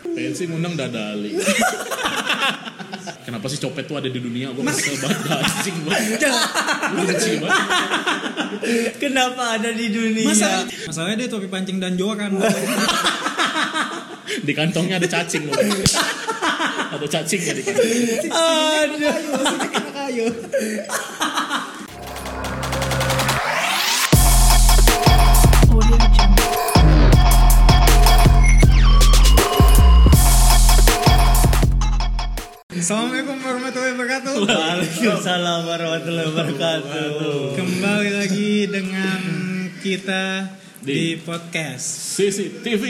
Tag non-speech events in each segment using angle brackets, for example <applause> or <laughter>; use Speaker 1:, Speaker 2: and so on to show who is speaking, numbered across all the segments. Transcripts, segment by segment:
Speaker 1: copet sih ngundang dadali.
Speaker 2: <laughs>
Speaker 1: Kenapa sih copet tuh ada di dunia?
Speaker 2: Nah.
Speaker 1: Gue kesel banget anjing banget. Gua benci banget.
Speaker 3: <laughs>
Speaker 2: Kenapa ada di dunia?
Speaker 3: Masa- Masalahnya dia topi pancing dan kan. joran.
Speaker 1: Di kantongnya ada cacing loh. Ada cacingnya di kantong.
Speaker 2: Aduh.
Speaker 3: Kayu.
Speaker 4: Audio Jungle.
Speaker 3: Assalamualaikum warahmatullahi wabarakatuh.
Speaker 2: Waalaikumsalam warahmatullahi wabarakatuh.
Speaker 3: Kembali lagi dengan kita
Speaker 1: Di-
Speaker 3: di, podcast.
Speaker 1: CCTV.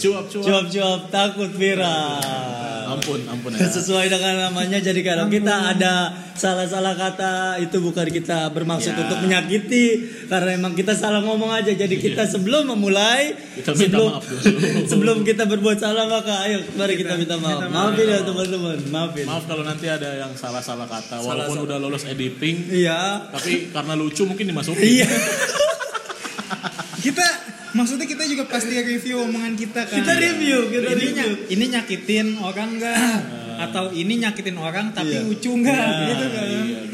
Speaker 1: Cuap-cuap.
Speaker 2: Jawab-jawab takut viral.
Speaker 1: Ampun, ampun ya.
Speaker 2: Sesuai dengan namanya, jadi kalau kita ada salah-salah kata itu bukan kita bermaksud
Speaker 1: Ya.
Speaker 2: untuk menyakiti, karena emang kita salah ngomong aja. Jadi
Speaker 3: Iya.
Speaker 2: kita sebelum memulai,
Speaker 1: Kita minta
Speaker 2: sebelum
Speaker 1: maaf dulu.
Speaker 2: <laughs> sebelum kita berbuat salah maka ayo mari kita, minta maaf.
Speaker 3: minta maaf.
Speaker 2: maafin ya teman-teman, maafin.
Speaker 1: Maaf kalau nanti ada yang salah-salah kata. Walaupun udah lolos editing.
Speaker 2: Iya,
Speaker 1: Tapi karena lucu mungkin dimasukin.
Speaker 2: iya.
Speaker 3: Kita maksudnya kita juga pasti review omongan kita kan.
Speaker 2: Kita review,
Speaker 3: ini,
Speaker 2: kita review. Ah.
Speaker 3: nyak- ini nyakitin orang enggak? Atau ini nyakitin orang tapi
Speaker 2: Iya.
Speaker 3: lucu enggak?
Speaker 2: Iya.
Speaker 3: Gitu kan.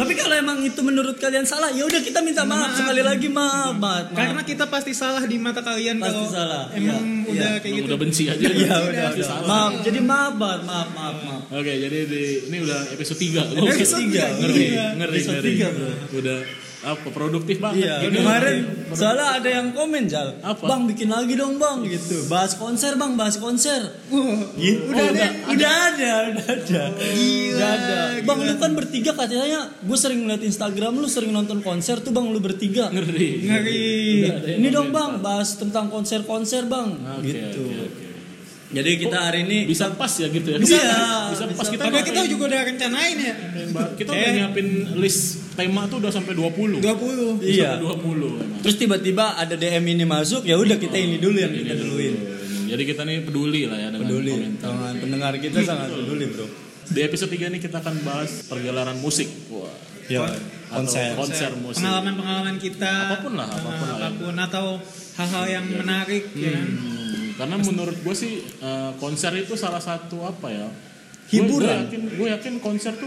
Speaker 2: Tapi kalau emang itu menurut kalian salah, ya udah kita minta maaf sekali lagi maaf, maaf. maaf.
Speaker 3: Iya. Karena kita pasti salah di mata kalian
Speaker 2: Pasti
Speaker 3: kalau
Speaker 2: salah.
Speaker 3: emang
Speaker 2: Iya.
Speaker 3: udah
Speaker 2: Iya.
Speaker 3: kayak
Speaker 1: Emang
Speaker 3: gitu.
Speaker 1: udah benci aja.
Speaker 2: Iya,
Speaker 1: Pasti
Speaker 2: udah, udah.
Speaker 1: salah.
Speaker 2: Maaf. Jadi maaf, Bart. maaf, maaf, maaf.
Speaker 1: Oke, jadi di, ini udah episode 3.
Speaker 2: Episode tiga,
Speaker 1: Ngeri,
Speaker 2: iya.
Speaker 1: ngeri,
Speaker 2: Episode
Speaker 1: ngeri.
Speaker 2: tiga, bro.
Speaker 1: Udah apa produktif banget.
Speaker 2: Iya,
Speaker 1: Gini.
Speaker 2: kemarin soalnya ada yang komen Jal.
Speaker 1: Apa?
Speaker 2: Bang bikin lagi dong, Bang gitu. Bahas konser, Bang, bahas konser.
Speaker 3: Gitu.
Speaker 2: Oh,
Speaker 3: Udah
Speaker 2: udah,
Speaker 3: ada.
Speaker 2: udah ada, udah ada.
Speaker 3: Gila,
Speaker 2: Udah ada.
Speaker 3: gila.
Speaker 2: Bang, lu kan bertiga katanya, gue sering ngeliat Instagram lu sering nonton konser tuh, Bang, lu bertiga.
Speaker 1: ngeri.
Speaker 3: Ngeri.
Speaker 1: Udah ada yang
Speaker 2: Ini dong,
Speaker 1: komen.
Speaker 2: Bang, bahas tentang konser-konser, Bang.
Speaker 1: Oke,
Speaker 2: gitu.
Speaker 1: oke, oke.
Speaker 2: Jadi kita hari ini
Speaker 1: Bisa pas ya gitu ya.
Speaker 2: Bisa.
Speaker 1: bisa pas
Speaker 2: Bisa
Speaker 1: kita.
Speaker 3: Padahal kita
Speaker 1: ngapain-
Speaker 3: juga udah rencanain ya.
Speaker 1: kita udah
Speaker 3: Eh.
Speaker 1: nyiapin list tema tuh udah sampai 20.
Speaker 3: 20.
Speaker 1: Sampai
Speaker 2: Iya.
Speaker 1: 20 emang.
Speaker 2: Terus tiba-tiba ada DM ini masuk, ya udah kita ini dulu yang kita duluin.
Speaker 1: Jadi kita nih peduli lah ya dengan
Speaker 2: Peduli,
Speaker 1: komentar.
Speaker 2: tangan pendengar kita
Speaker 3: Iya.
Speaker 2: sangat peduli bro.
Speaker 1: Di episode 3 ini kita akan bahas pergelaran musik. Wah.
Speaker 2: Ya,
Speaker 1: Atau konser musik.
Speaker 3: Pengalaman-pengalaman kita.
Speaker 1: Apapun lah, apapun lah ya.
Speaker 3: Apapun atau hal-hal yang
Speaker 2: Iya.
Speaker 3: menarik ya kan.
Speaker 1: Hmm, karena menurut gue sih eh, konser itu salah satu apa ya
Speaker 2: Hiburan.
Speaker 1: gue yakin gue yakin konser tuh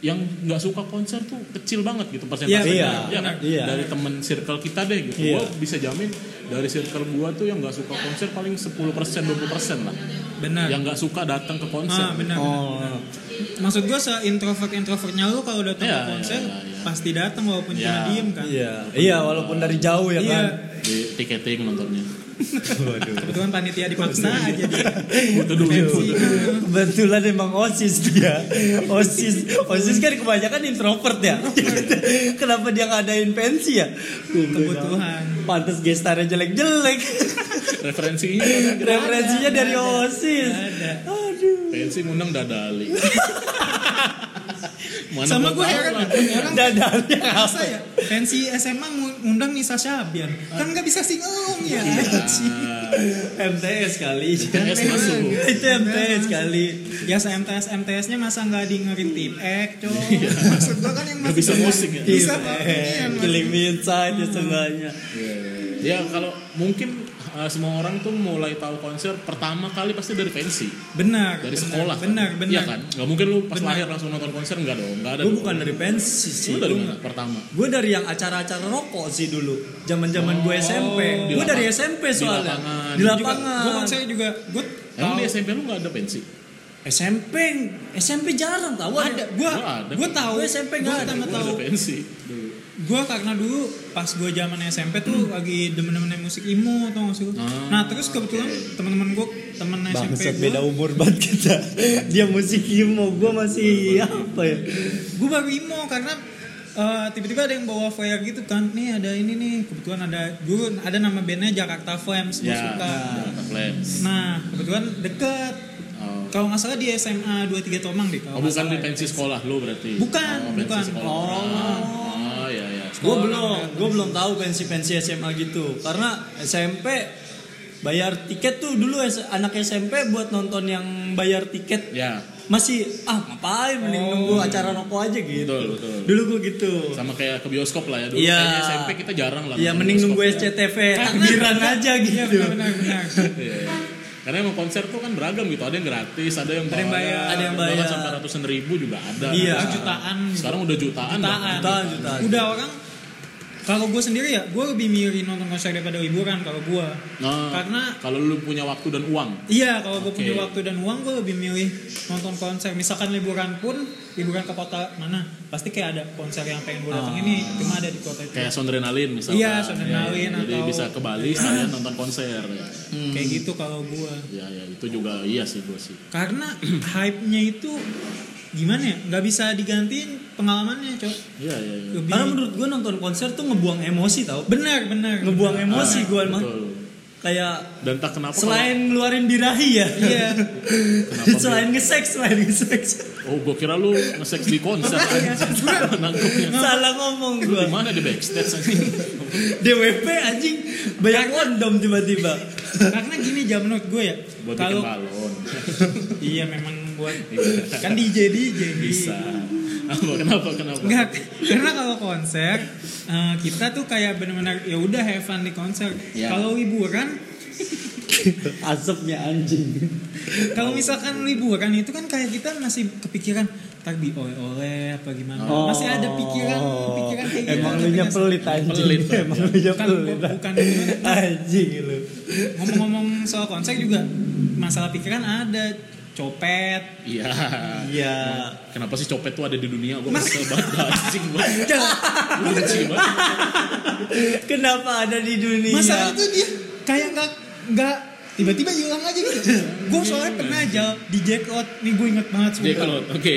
Speaker 1: yang nggak suka konser tuh kecil banget gitu
Speaker 3: Iya,
Speaker 1: persentasenya
Speaker 2: iya,
Speaker 1: Ya kan?
Speaker 2: iya.
Speaker 1: dari temen circle kita deh gitu
Speaker 2: Iya.
Speaker 1: gue bisa jamin dari circle gue tuh yang nggak suka konser paling 10% 20% lah
Speaker 3: Benar.
Speaker 1: yang nggak suka datang ke
Speaker 3: Nah. Ah,
Speaker 1: konser
Speaker 3: benar.
Speaker 2: Oh,
Speaker 3: Maksud gua se introvert introvertnya lu kalau datang
Speaker 1: Iya,
Speaker 3: ke konser
Speaker 1: iya, iya, iya.
Speaker 3: pasti datang walaupun
Speaker 1: Iya.
Speaker 3: cuma diem kan.
Speaker 2: iya, iya walaupun dari jauh ya
Speaker 3: Iya.
Speaker 2: kan.
Speaker 1: di tiketing nontonnya
Speaker 2: Waduh.
Speaker 3: Kebetulan panitia
Speaker 1: Iya.
Speaker 3: dipaksa aja
Speaker 1: <laughs>
Speaker 3: dia.
Speaker 1: butuh duit butuh duit.
Speaker 2: Kebetulan emang osis dia, osis, osis kan kebanyakan introvert ya. <laughs> Kenapa dia ngadain pensi ya?
Speaker 3: Kebutuhan.
Speaker 2: Pantes gestarnya
Speaker 3: <laughs>
Speaker 2: jelek-jelek.
Speaker 1: referensinya
Speaker 2: Referensinya dari osis.
Speaker 3: Ada.
Speaker 2: Aduh.
Speaker 1: pensi ngundang dadali Mana
Speaker 3: Sama
Speaker 1: gua
Speaker 3: gua
Speaker 1: tahu
Speaker 3: heran
Speaker 1: lah.
Speaker 3: apa nih
Speaker 1: <laughs>
Speaker 3: orang
Speaker 2: Dadalnya
Speaker 3: Masa ya? Pensi SMA ngu- ngundang Nisa Syabian. Kan nggak bisa sing along ya.
Speaker 1: Iya. Nah,
Speaker 2: MTS kali.
Speaker 1: MTS masuk.
Speaker 2: Itu MTS kali.
Speaker 3: Ya MTS MTS-nya masa nggak di ngerintin ek, cowok. Maksud gua kan yang
Speaker 1: Iya. Nggak
Speaker 3: masih
Speaker 1: bisa musik ya?
Speaker 3: Bisa iya,
Speaker 2: Eh,
Speaker 3: banget.
Speaker 2: Killing me inside ya seenggaknya.
Speaker 1: Ya kalau mungkin uh, semua orang tuh mulai tahu konser pertama kali pasti dari pensi,
Speaker 3: Benar.
Speaker 1: dari
Speaker 3: benar,
Speaker 1: sekolah.
Speaker 3: Benar,
Speaker 1: kan?
Speaker 3: benar.
Speaker 1: Iya kan? Gak mungkin lu pas
Speaker 3: Benar.
Speaker 1: lahir langsung nonton konser enggak dong, enggak ada.
Speaker 2: Gue
Speaker 1: dong.
Speaker 2: bukan dari pensi sih.
Speaker 1: Lu dari mana pertama?
Speaker 2: Gue dari yang acara-acara rokok sih dulu. Zaman-zaman gue SMP.
Speaker 1: Oh, di
Speaker 2: Gue dari
Speaker 1: lapangan.
Speaker 2: SMP
Speaker 1: Di
Speaker 2: soalnya.
Speaker 1: lapangan.
Speaker 2: Di
Speaker 1: Gua
Speaker 3: Juga,
Speaker 2: lapangan.
Speaker 1: kan?
Speaker 3: gua konser juga gua
Speaker 1: Emang di
Speaker 3: tahu-
Speaker 1: SMP lu enggak ada pensi?
Speaker 2: SMP, SMP jarang tau
Speaker 3: ada gua
Speaker 1: Gua ada.
Speaker 3: gua tahu
Speaker 2: Gua SMP nggak
Speaker 3: gua
Speaker 2: ada.
Speaker 3: pertama
Speaker 1: Gua
Speaker 3: tahu
Speaker 1: ada pensi.
Speaker 3: gua karena dulu pas gua zaman SMP tuh lagi demen-demen musik emo tau gak sih lu?
Speaker 1: Ah,
Speaker 3: nah terus kebetulan teman-teman gua temen SMP
Speaker 2: Bangsat
Speaker 3: gua,
Speaker 2: beda umur <laughs> banget kita. Dia musik emo, gue masih apa ya?
Speaker 3: gua baru emo karena eh, tiba-tiba ada yang bawa flyer gitu kan nih ada ini nih kebetulan ada dulu ada nama bandnya Jakarta Flames gua
Speaker 1: Ya.
Speaker 3: suka
Speaker 1: Jakarta Flames.
Speaker 3: nah kebetulan deket
Speaker 1: Oh.
Speaker 3: kalau nggak salah di SMA 23 Tomang deh
Speaker 1: Oh,
Speaker 3: kalau nggak
Speaker 1: bukan
Speaker 3: salah
Speaker 1: di
Speaker 3: ya.
Speaker 1: pensi sekolah lu berarti.
Speaker 3: Bukan,
Speaker 1: oh, pensi
Speaker 3: bukan.
Speaker 1: Sekolah.
Speaker 2: Oh.
Speaker 1: orang. Oh, iya iya.
Speaker 2: Gue belum, gue belum tahu pensi-pensi SMA gitu. Karena SMP bayar tiket tuh dulu es- anak SMP buat nonton yang bayar tiket
Speaker 1: Ya,
Speaker 2: masih ah ngapain mending nunggu acara rokok aja gitu.
Speaker 1: betul betul.
Speaker 2: Dulu gue gitu.
Speaker 1: Sama kayak ke bioskop lah ya dulu.
Speaker 2: Iya.
Speaker 1: Kayaknya SMP kita jarang lah.
Speaker 2: Iya
Speaker 1: nonton
Speaker 2: mending
Speaker 3: Eh,
Speaker 2: <laughs>
Speaker 1: bioskop
Speaker 2: nunggu
Speaker 1: ya.
Speaker 2: SCTV takbiran aja gitu.
Speaker 3: Iya, benar benar benar
Speaker 1: Iya, iya. Karena emang konser tuh kan beragam gitu, ada yang gratis, ada yang
Speaker 3: Ada yang bayar.
Speaker 2: Ada yang
Speaker 1: bahkan
Speaker 2: bayar.
Speaker 1: sampai ratusan ribu juga ada.
Speaker 2: Iya.
Speaker 1: Nah,
Speaker 3: jutaan gitu.
Speaker 1: Sekarang udah jutaan.
Speaker 3: Jutaan.
Speaker 1: bahkan.
Speaker 2: jutaan jutaan
Speaker 3: udah orang kalau gue sendiri ya gue lebih milih nonton konser daripada liburan kalau gue
Speaker 1: Nah,
Speaker 3: karena
Speaker 1: kalau lu punya waktu dan uang,
Speaker 3: Iya, kalau gue
Speaker 1: Oke.
Speaker 3: punya waktu dan uang gue lebih milih nonton konser. Misalkan liburan pun, liburan ke kota mana, pasti kayak ada konser yang pengen gue datang
Speaker 2: Ah.
Speaker 3: ini, cuma ada di kota itu.
Speaker 1: kayak Sondrenalin misalnya.
Speaker 3: Iya, Sondrenalin
Speaker 1: Jadi
Speaker 3: atau-
Speaker 1: bisa ke Bali sekalian nonton konser. Ya.
Speaker 2: Hmm.
Speaker 3: Kayak gitu kalau gue.
Speaker 1: ya, ya, itu juga iya sih gue sih.
Speaker 3: Karena <clears throat> hype-nya itu gimana ya, nggak bisa digantiin pengalamannya, cok.
Speaker 1: Iya, iya, iya.
Speaker 3: Lebih
Speaker 2: karena menurut gue nonton konser tuh ngebuang emosi tau
Speaker 3: benar, benar.
Speaker 2: ngebuang emosi
Speaker 1: Ah,
Speaker 2: gue mah
Speaker 1: betul.
Speaker 2: kayak
Speaker 1: Dan tak kenapa
Speaker 2: selain ngeluarin birahi ya
Speaker 3: Iya.
Speaker 1: Kenapa
Speaker 2: <laughs> selain ngesek selain ngesek
Speaker 1: kalau- oh gue kira lu nge-sex di konser anjing. Nangkepnya.
Speaker 2: salah ngomong gue
Speaker 1: Di mana di backstage anjing?
Speaker 2: DWP anjing banyak kondom tiba-tiba
Speaker 3: Karena gini jam menurut gue ya,
Speaker 1: Buat bikin
Speaker 3: kalau
Speaker 1: balon.
Speaker 3: iya memang buat kan DJ DJ
Speaker 1: Bisa. Apa kenapa kenapa?
Speaker 3: Enggak, karena kalau konser eh, kita tuh kayak benar-benar ya udah have fun di konser.
Speaker 1: Ya.
Speaker 3: Kalau liburan,
Speaker 2: asapnya anjing
Speaker 3: kalau misalkan liburan itu kan kayak kita masih kepikiran ntar di oleh-oleh apa gimana. Masih ada pikiran pikiran kayak gitu.
Speaker 2: emang lu
Speaker 3: ngerti nggak sih?
Speaker 2: nya Iya, pelit anjing
Speaker 1: Pelit,
Speaker 2: <laughs> emang lu nya
Speaker 3: Bukan,
Speaker 2: pelit
Speaker 3: bukan gimana.
Speaker 2: <laughs> anjing lu
Speaker 3: Ngomong-ngomong soal konser juga masalah pikiran ada copet.
Speaker 1: Iya.
Speaker 2: iya
Speaker 1: Kenapa sih copet tuh ada di dunia? Gue kesel banget anjing banget. Lu benci banget.
Speaker 2: kenapa ada di dunia
Speaker 1: Iya.
Speaker 3: Masalah itu dia kayak nggak nggak tiba-tiba hilang aja gitu.
Speaker 1: Iya.
Speaker 3: gue soalnya pernah aja di jackpot nih gue inget banget
Speaker 1: Dia
Speaker 3: sumpah.
Speaker 1: kalau oke.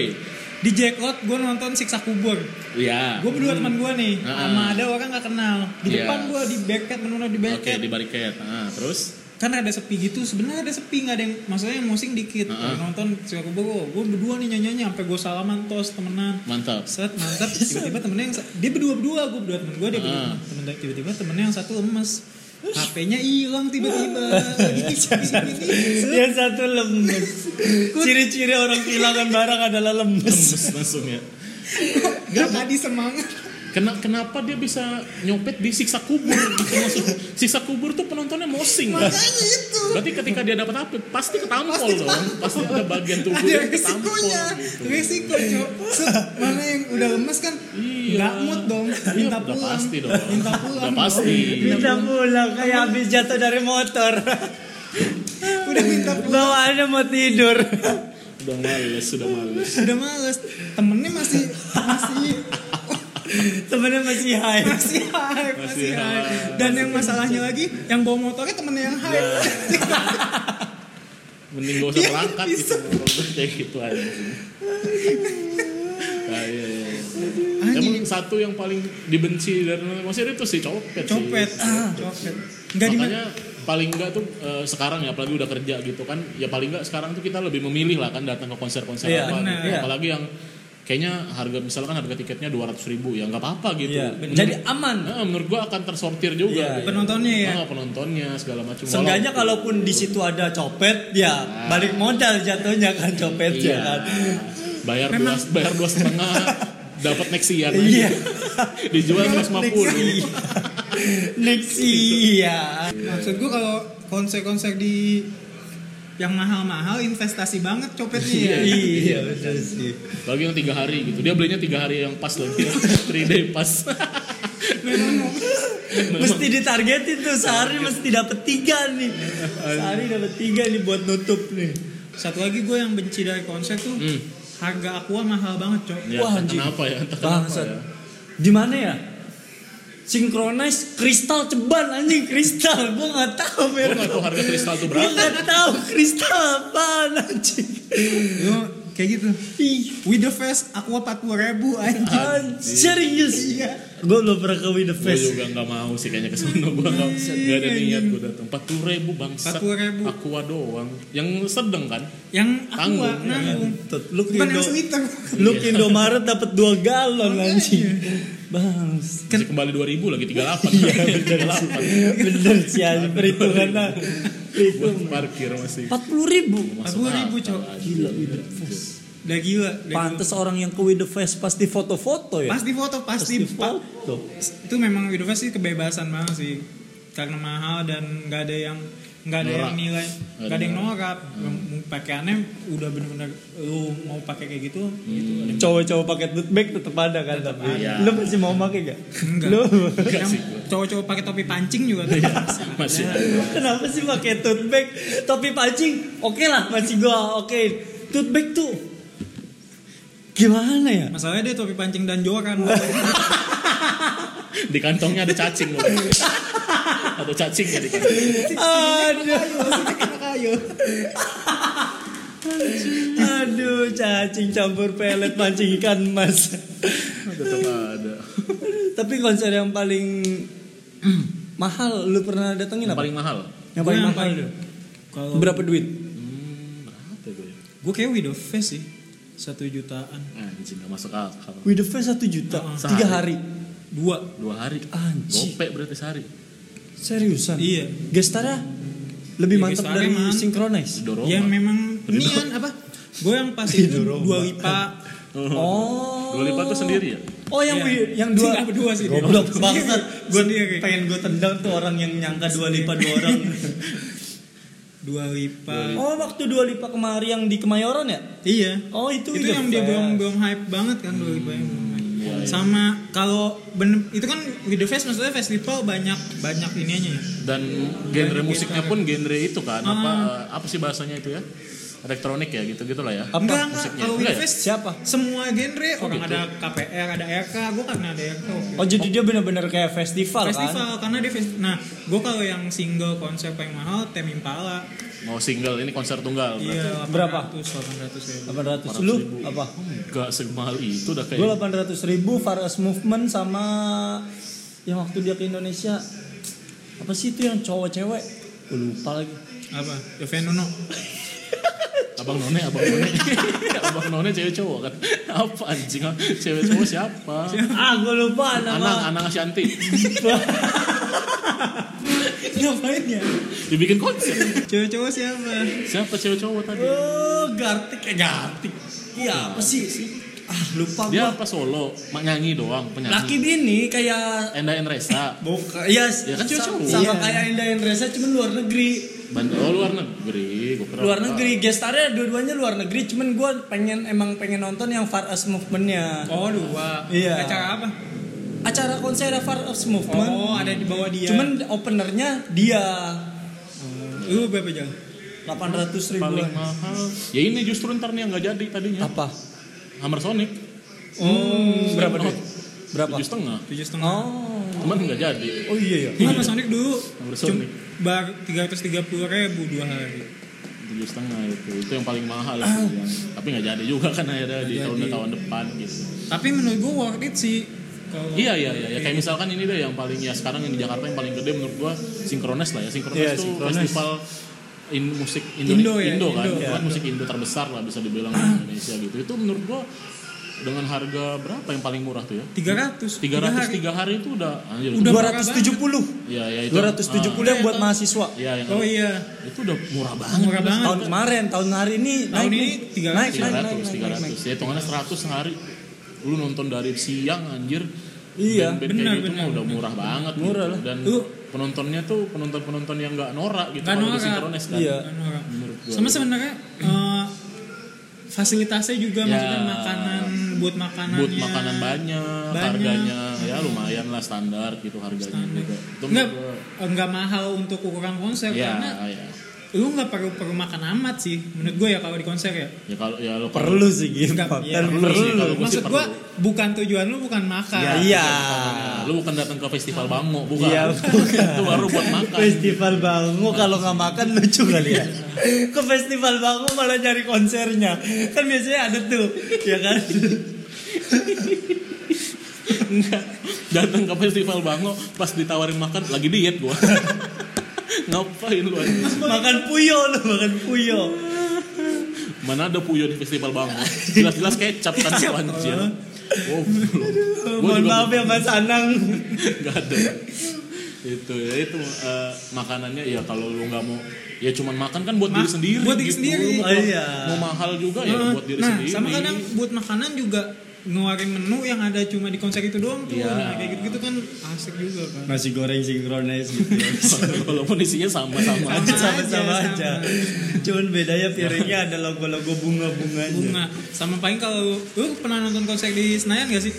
Speaker 3: di jackpot gue nonton siksa kubur
Speaker 1: Iya.
Speaker 3: gue berdua teman gue nih
Speaker 1: Heeh.
Speaker 3: sama ada orang gak kenal di
Speaker 1: Iya.
Speaker 3: depan gue di beket menurut di
Speaker 1: Oke,
Speaker 3: beket
Speaker 1: di bariket. Nah, terus
Speaker 3: kan ada sepi gitu sebenarnya ada sepi nggak ada yang maksudnya yang musik dikit
Speaker 1: Heeh.
Speaker 3: nonton siksa kubur gue berdua nih nyanyi sampai gue salaman tos temenan
Speaker 1: mantap.
Speaker 3: set mantap tiba-tiba temennya yang sa- dia berdua berdua gue berdua temen gue dia berdua
Speaker 1: Heeh.
Speaker 3: temen tiba-tiba temennya yang satu lemes HP-nya hilang tiba-tiba Gini, gini, gini.
Speaker 1: Ah.
Speaker 3: Set.
Speaker 2: yang satu lemes ciri-ciri orang kehilangan barang adalah lemes
Speaker 1: Terus langsung ya.
Speaker 3: Gak tadi semangat
Speaker 1: Kena, kenapa dia bisa nyopet di siksa kubur? Gitu maksud. Siksa kubur tuh penontonnya mosing. kan?
Speaker 3: Makanya itu
Speaker 1: Berarti ketika dia dapat apa? Pasti ketampol dong. Pasti ada bagian tubuh dia
Speaker 3: ada
Speaker 1: ketampol.
Speaker 3: resikonya
Speaker 1: gitu.
Speaker 3: resiko cok Set, mana yang udah lemes kan
Speaker 1: Iya.
Speaker 3: nggak mood dong
Speaker 1: Iya,
Speaker 3: minta
Speaker 1: udah
Speaker 3: pulang
Speaker 1: pasti dong.
Speaker 3: minta pulang
Speaker 1: Udah pasti.
Speaker 3: dong. minta
Speaker 2: Minta pulang kayak habis jatuh dari motor
Speaker 3: udah minta pulang
Speaker 2: bawaannya mau tidur
Speaker 1: Udah males, sudah males.
Speaker 3: udah males temennya masih masih
Speaker 2: temennya masih high
Speaker 3: masih hype
Speaker 1: Masih
Speaker 3: masih hype
Speaker 1: hype. Iya.
Speaker 3: dan yang masalahnya lagi yang bawa motornya temennya yang hype
Speaker 1: Mending gak usah berangkat gitu. Kayak gitu aja. Nah, iya, iya. Emang satu yang paling dibenci dari Mesir itu sih copet. sih.
Speaker 3: copet ah copet nggak di mana
Speaker 1: Makanya paling enggak tuh eh, sekarang ya apalagi udah kerja gitu kan ya paling enggak sekarang tuh kita lebih memilih lah kan datang ke konser-konser
Speaker 2: Iya,
Speaker 1: apa
Speaker 3: benar.
Speaker 1: gitu.
Speaker 2: Iya.
Speaker 1: apalagi yang kayaknya harga misalkan harga tiketnya 200 ribu ya nggak apa-apa gitu
Speaker 2: Iya,
Speaker 1: Menurut-
Speaker 2: jadi aman
Speaker 1: Nah, menurut gua akan tersortir juga.
Speaker 2: Iya,
Speaker 1: gitu.
Speaker 3: penontonnya ya
Speaker 1: Ah, penontonnya segala macam.
Speaker 2: Seenggaknya
Speaker 1: Walau-
Speaker 2: kalaupun di situ ada copet, ya balik modal jatuhnya kan
Speaker 1: iya.
Speaker 2: copetnya kan.
Speaker 1: Bayar dua,
Speaker 3: Memang-
Speaker 1: bayar dua setengah, dapat Nexian.
Speaker 2: Iya.
Speaker 1: <laughs> Dijual
Speaker 3: Dapat
Speaker 1: 150.
Speaker 2: Next iya.
Speaker 3: maksud gua kalau konser-konser di yang mahal-mahal investasi banget copetnya ya.
Speaker 2: Iya betul sih.
Speaker 1: Lagi yang tiga hari gitu. Dia belinya tiga hari yang pas lagi. <laughs> 3 day pas.
Speaker 2: Mesti ditargetin tuh sehari mesti dapat tiga nih. Sehari dapat tiga nih buat nutup nih.
Speaker 3: Satu lagi gue yang benci dari konser tuh
Speaker 1: Hmm.
Speaker 3: harga aqua mahal banget cok.
Speaker 1: Ya,
Speaker 2: Wah,
Speaker 1: entah
Speaker 2: anjing.
Speaker 1: kenapa ya? Entah kenapa
Speaker 2: Bangsat.
Speaker 1: ya.
Speaker 2: Di mana ya? Sinkronize kristal ceban anjing kristal. Gua nggak tahu
Speaker 1: Gue
Speaker 2: merah.
Speaker 1: nggak tahu harga kristal tuh
Speaker 2: Gua
Speaker 1: berapa.
Speaker 2: nggak tahu kristal apaan anjing.
Speaker 3: Yo, kayak gitu.
Speaker 2: Ih,
Speaker 3: With the face aqua 40 ribu aja.
Speaker 2: Ah, Anjir serius iya. Gue belum pernah ke With the
Speaker 1: Gue
Speaker 2: Fest
Speaker 1: juga nggak mau sih kayaknya kesana Gue nggak nggak ada niat gue datang. 40 ribu bangsat.
Speaker 3: 40.000.
Speaker 1: Aqua doang. Yang sedang kan?
Speaker 3: Yang aqua
Speaker 1: Tanggung,
Speaker 2: Iya.
Speaker 3: nanggung.
Speaker 2: Tut, Lu ke
Speaker 3: Bukan yang
Speaker 2: Indo- <laughs>
Speaker 3: sweater.
Speaker 2: lu ke Indomaret dapat 2 galon
Speaker 3: Makanya.
Speaker 2: anjing Bangs
Speaker 1: Masih kembali 2000 lagi <laughs> 38. 38.
Speaker 2: Bener sih anjing perhitungannya
Speaker 1: Buat parkir masih.
Speaker 2: 40 ribu
Speaker 3: 40 ribu cok.
Speaker 2: Gila With the Fest
Speaker 3: Udah gila. udah
Speaker 2: Pantes orang yang ke With the Fest pasti foto-foto
Speaker 3: gila.
Speaker 2: ya
Speaker 3: Pasti foto pasti.
Speaker 2: Pasti
Speaker 3: pa-
Speaker 2: foto
Speaker 3: itu memang with the face sih kebebasan banget sih. Karena mahal dan nggak ada yang nggak ada
Speaker 1: Norak.
Speaker 3: yang nilai
Speaker 1: Nggak
Speaker 3: nggak ada
Speaker 1: ada.
Speaker 3: yang
Speaker 1: Hmm.
Speaker 3: norak Mau pakaiannya udah bener-bener lu mau pakai kayak gitu gitu ada yang-
Speaker 2: Cowok-cowok pakai tote bag tetap ada kan tapi.
Speaker 1: ada.
Speaker 2: Lu masih mau pakai gak?
Speaker 3: Enggak.
Speaker 2: Lu <laughs>
Speaker 3: yang
Speaker 1: sih gua. Iya.
Speaker 3: cowok-cowok pakai topi pancing juga tuh
Speaker 1: masih
Speaker 2: kenapa sih pakai tote bag? Topi pancing, oke lah masih gua oke. Tote bag tuh gimana ya?
Speaker 3: masalahnya dia topi pancing dan joran
Speaker 1: di kantongnya ada cacing loh ada cacing ya di kantong
Speaker 2: Aduh. <laughs> Aduh, cacing campur pelet mancing ikan mas.
Speaker 1: tetap ada
Speaker 2: Tapi konser yang paling <clears throat> mahal lu pernah datengin
Speaker 1: yang
Speaker 2: apa?
Speaker 1: paling mahal
Speaker 2: Yang paling
Speaker 3: Gua
Speaker 2: mahal.
Speaker 3: paling- kalau
Speaker 2: Berapa duit?
Speaker 1: hmm, berapa gue
Speaker 3: gue kayak Widow Face sih satu jutaan
Speaker 1: anjing nggak masuk akal
Speaker 2: With the face 1 juta,
Speaker 1: Heeh.
Speaker 2: tiga hari.
Speaker 1: Sehari.
Speaker 3: dua
Speaker 1: dua hari
Speaker 2: Anjing.
Speaker 1: gopek berarti sehari
Speaker 2: Seriusan?
Speaker 3: Iya.
Speaker 2: Gestara lebih
Speaker 3: Iya,
Speaker 2: mantap
Speaker 3: Gestara
Speaker 2: dari
Speaker 3: mantap.
Speaker 2: Synchronize.
Speaker 1: dorong
Speaker 3: yang memang
Speaker 1: Ridho.
Speaker 3: nian apa gue yang pas itu
Speaker 2: Ridho Roma.
Speaker 3: dua lipa
Speaker 2: Oh.
Speaker 1: Mhm. dua lipat tuh sendiri ya
Speaker 2: Oh yang
Speaker 3: Iya.
Speaker 2: wi- yang dua
Speaker 3: Nggak, berdua sih.
Speaker 2: Goblok
Speaker 3: Sendiri.
Speaker 2: bangsat. Gue
Speaker 3: Sendiri.
Speaker 2: pengen gue tendang tuh orang yang nyangka dua lipat dua orang.
Speaker 3: <laughs> dua lipa
Speaker 2: <laughs> oh waktu dua lipat kemari yang di Kemayoran ya?
Speaker 3: iya
Speaker 2: Oh itu
Speaker 3: itu
Speaker 2: With the
Speaker 3: yang dia
Speaker 2: Face.
Speaker 3: belum belum hype banget kan dua lipa yang belum hype.
Speaker 1: iya, iya.
Speaker 3: sama kalau bener itu kan with the face maksudnya festival banyak banyak ininya ya
Speaker 1: dan genre musiknya pun genre itu kan apa
Speaker 2: Ah.
Speaker 1: apa sih bahasanya itu ya elektronik ya gitu gitulah ya
Speaker 2: Apa?
Speaker 3: enggak enggak
Speaker 1: musiknya?
Speaker 3: kalau with
Speaker 1: Enggak ya?
Speaker 3: the face
Speaker 2: Siapa?
Speaker 3: semua genre orang
Speaker 1: gitu.
Speaker 3: ada KPR ada RK gue karena ada RK waktu
Speaker 2: Oh jadi dia benar-benar kayak festival, kan?
Speaker 3: festival karena dia festival nah gue kalau yang single konsep yang mahal tem impala
Speaker 1: mau single ini konser tunggal berarti.
Speaker 3: iya
Speaker 2: Berapa?
Speaker 3: 800 800 ribu
Speaker 2: 800 lu apa?
Speaker 1: enggak semahal itu udah
Speaker 2: Gue
Speaker 1: kayak
Speaker 2: 800 ribu Faras Movement sama yang waktu dia ke Indonesia apa sih itu yang cowok cewek? Gue lupa lagi.
Speaker 3: apa Ya, Yovenono
Speaker 1: abang none abang none <laughs> abang none cewek cowok kan apa anjing ah? cewek cowok siapa
Speaker 2: ah gue lupa
Speaker 1: Anang
Speaker 2: nama.
Speaker 1: Anang Ashanti
Speaker 2: Ngapain ya?
Speaker 1: dibikin konser
Speaker 3: cowok-cowok siapa
Speaker 1: siapa cewek cowok tadi
Speaker 2: Oh Gartik eh Gartik. Iya apa sih? Ah lupa gue.
Speaker 1: dia apa solo mak nyanyi doang penyanyi
Speaker 2: Laki bini kayak
Speaker 1: Enda Enresa
Speaker 2: Buka, yes,
Speaker 1: Ya kan cowok-cowok.
Speaker 2: sama
Speaker 3: Iya.
Speaker 2: kayak Indah Endresa cuman luar negeri.
Speaker 1: Bandung oh, luar negeri gua kira
Speaker 2: luar negeri gestarnya dua-duanya luar negeri cuman gue pengen emang pengen nonton yang Far As Movement-nya
Speaker 3: oh dua
Speaker 2: Iya.
Speaker 3: acara apa
Speaker 2: acara konser Far As Movement
Speaker 3: oh ada di bawah dia
Speaker 2: cuman openernya dia
Speaker 3: lu berapa jam
Speaker 2: 800
Speaker 1: paling
Speaker 2: ribuan
Speaker 1: mahal ya ini justru ntar nih yang nggak jadi tadinya
Speaker 2: apa
Speaker 1: Hammer Sonic
Speaker 2: oh
Speaker 1: Oh,
Speaker 2: berapa duit berapa
Speaker 1: tujuh setengah
Speaker 3: Hmm. tujuh setengah
Speaker 2: oh
Speaker 1: cuman nggak jadi
Speaker 2: oh iya ya
Speaker 3: Iya, Mas Sonic dulu
Speaker 1: Nomor
Speaker 3: cum-
Speaker 1: Sonic.
Speaker 3: bar tiga ratus tiga puluh ribu dua hari.
Speaker 1: tujuh setengah itu itu yang paling mahal itu yang- tapi nggak jadi juga kan akhirnya di
Speaker 3: Nggak
Speaker 1: tahun
Speaker 3: jadi.
Speaker 1: tahun depan gitu
Speaker 3: Tapi menurut gua worth it sih. Kalau-
Speaker 1: iya iya iya ya, kayak misalkan ini deh yang paling ya sekarang yang di Jakarta yang paling gede menurut gua sinkrones lah ya sinkrones
Speaker 2: Iya,
Speaker 1: tuh
Speaker 2: Synchronous.
Speaker 1: festival in musik
Speaker 3: Indo
Speaker 1: Indo
Speaker 3: ya,
Speaker 1: Indo kan
Speaker 3: Indo.
Speaker 1: Itu kan musik Indo terbesar lah bisa dibilang di Indonesia gitu itu menurut gua dengan harga berapa yang paling murah tuh ya
Speaker 3: 300
Speaker 1: tiga
Speaker 3: tiga
Speaker 1: ratus
Speaker 3: hari.
Speaker 1: tiga hari itu udah anjir
Speaker 3: Udah
Speaker 1: itu-
Speaker 3: murah
Speaker 2: 270
Speaker 1: ya ya itu
Speaker 2: 270 yang buat
Speaker 3: Iya,
Speaker 2: mahasiswa
Speaker 1: ah, ya yang
Speaker 3: Oh iya,
Speaker 1: itu udah murah banget
Speaker 3: murah banget.
Speaker 2: tahun kemarin tahun hari ini
Speaker 3: Tahun
Speaker 2: naik
Speaker 3: ini
Speaker 2: nih.
Speaker 3: 300,
Speaker 2: naik naik naik
Speaker 1: 300
Speaker 2: naik, naik, naik.
Speaker 1: 300 ya hitungannya 100 sehari lu nonton dari siang anjir
Speaker 2: Iya,
Speaker 1: Band-band
Speaker 3: benar,
Speaker 1: kayak gitu mah
Speaker 3: benar,
Speaker 1: udah murah banget
Speaker 2: Murah
Speaker 1: gitu.
Speaker 2: lah.
Speaker 1: dan
Speaker 3: Lu-
Speaker 1: penontonnya tuh penonton-penonton yang nggak norak gitu
Speaker 3: Nggak
Speaker 1: kalau
Speaker 3: norak.
Speaker 1: disinkronis kan
Speaker 2: Iya.
Speaker 3: Kan orang.
Speaker 1: Menurut gua.
Speaker 3: Sama sebenarnya eh, fasilitasnya juga
Speaker 1: Ya.
Speaker 3: maksudnya makanan buat makanannya.
Speaker 1: buat makanan banyak,
Speaker 3: Banyak.
Speaker 1: harganya ya lumayan lah standar gitu harganya juga itu
Speaker 3: Enggak,
Speaker 1: menurut gua-
Speaker 3: enggak mahal untuk ukuran konser
Speaker 1: ya
Speaker 3: karena
Speaker 1: ya
Speaker 3: lu nggak perlu perlu makan amat sih menurut gue ya kalau di konser ya
Speaker 1: ya kalau ya lu
Speaker 2: perlu sih gitu
Speaker 3: Enggak, iya,
Speaker 2: Kan
Speaker 1: perlu sih, kalau gua sih
Speaker 3: maksud gue
Speaker 1: perlu. Iya,
Speaker 3: bukan tujuan lu bukan makan
Speaker 2: Ya, iya
Speaker 1: Nah, lu bukan datang ke festival Bango bukan <laughs>
Speaker 2: Iya, bukan.
Speaker 1: itu baru buat makan
Speaker 2: Festival Bangu kalau nggak makan lucu kali ya. Ke festival Bangu malah nyari konsernya. Kan biasanya ada tuh, ya kan?
Speaker 1: Enggak. Datang ke festival Bango pas ditawarin makan lagi diet gua. <laughs> Ngapain lu anjing?
Speaker 2: makan puyo loh, makan puyo.
Speaker 1: Mana ada puyo di festival Bango? Jelas-jelas kecap kan lu anjir. Wow. Gua
Speaker 2: Mohon
Speaker 1: juga
Speaker 2: maaf ya Mas Anang.
Speaker 1: enggak ada. Itu ya itu eh, makanannya ya kalau lu nggak mau ya cuman makan kan buat
Speaker 3: Ma-
Speaker 1: diri sendiri.
Speaker 3: buat diri
Speaker 1: Lu
Speaker 3: sendiri.
Speaker 1: Mau,
Speaker 2: Iya.
Speaker 1: mau mahal juga ya buat diri
Speaker 3: nah,
Speaker 1: sendiri. <laughs>
Speaker 3: sama kadang buat makanan juga ngeluarin menu yang ada cuma di konser itu doang tuh.
Speaker 1: Iya.
Speaker 3: Nah, kayak gitu-gitu kan asik juga kan.
Speaker 2: Nasi goreng sinkronis gitu.
Speaker 1: Walaupun isinya
Speaker 2: Iya.
Speaker 1: sama-sama.
Speaker 3: Sama
Speaker 2: Sama-sama
Speaker 3: aja,
Speaker 2: aja. Cuman bedanya piringnya ada logo-logo bunga-bunganya.
Speaker 3: Bunga. Sama paling kalau lu pernah nonton konser di Senayan gak sih?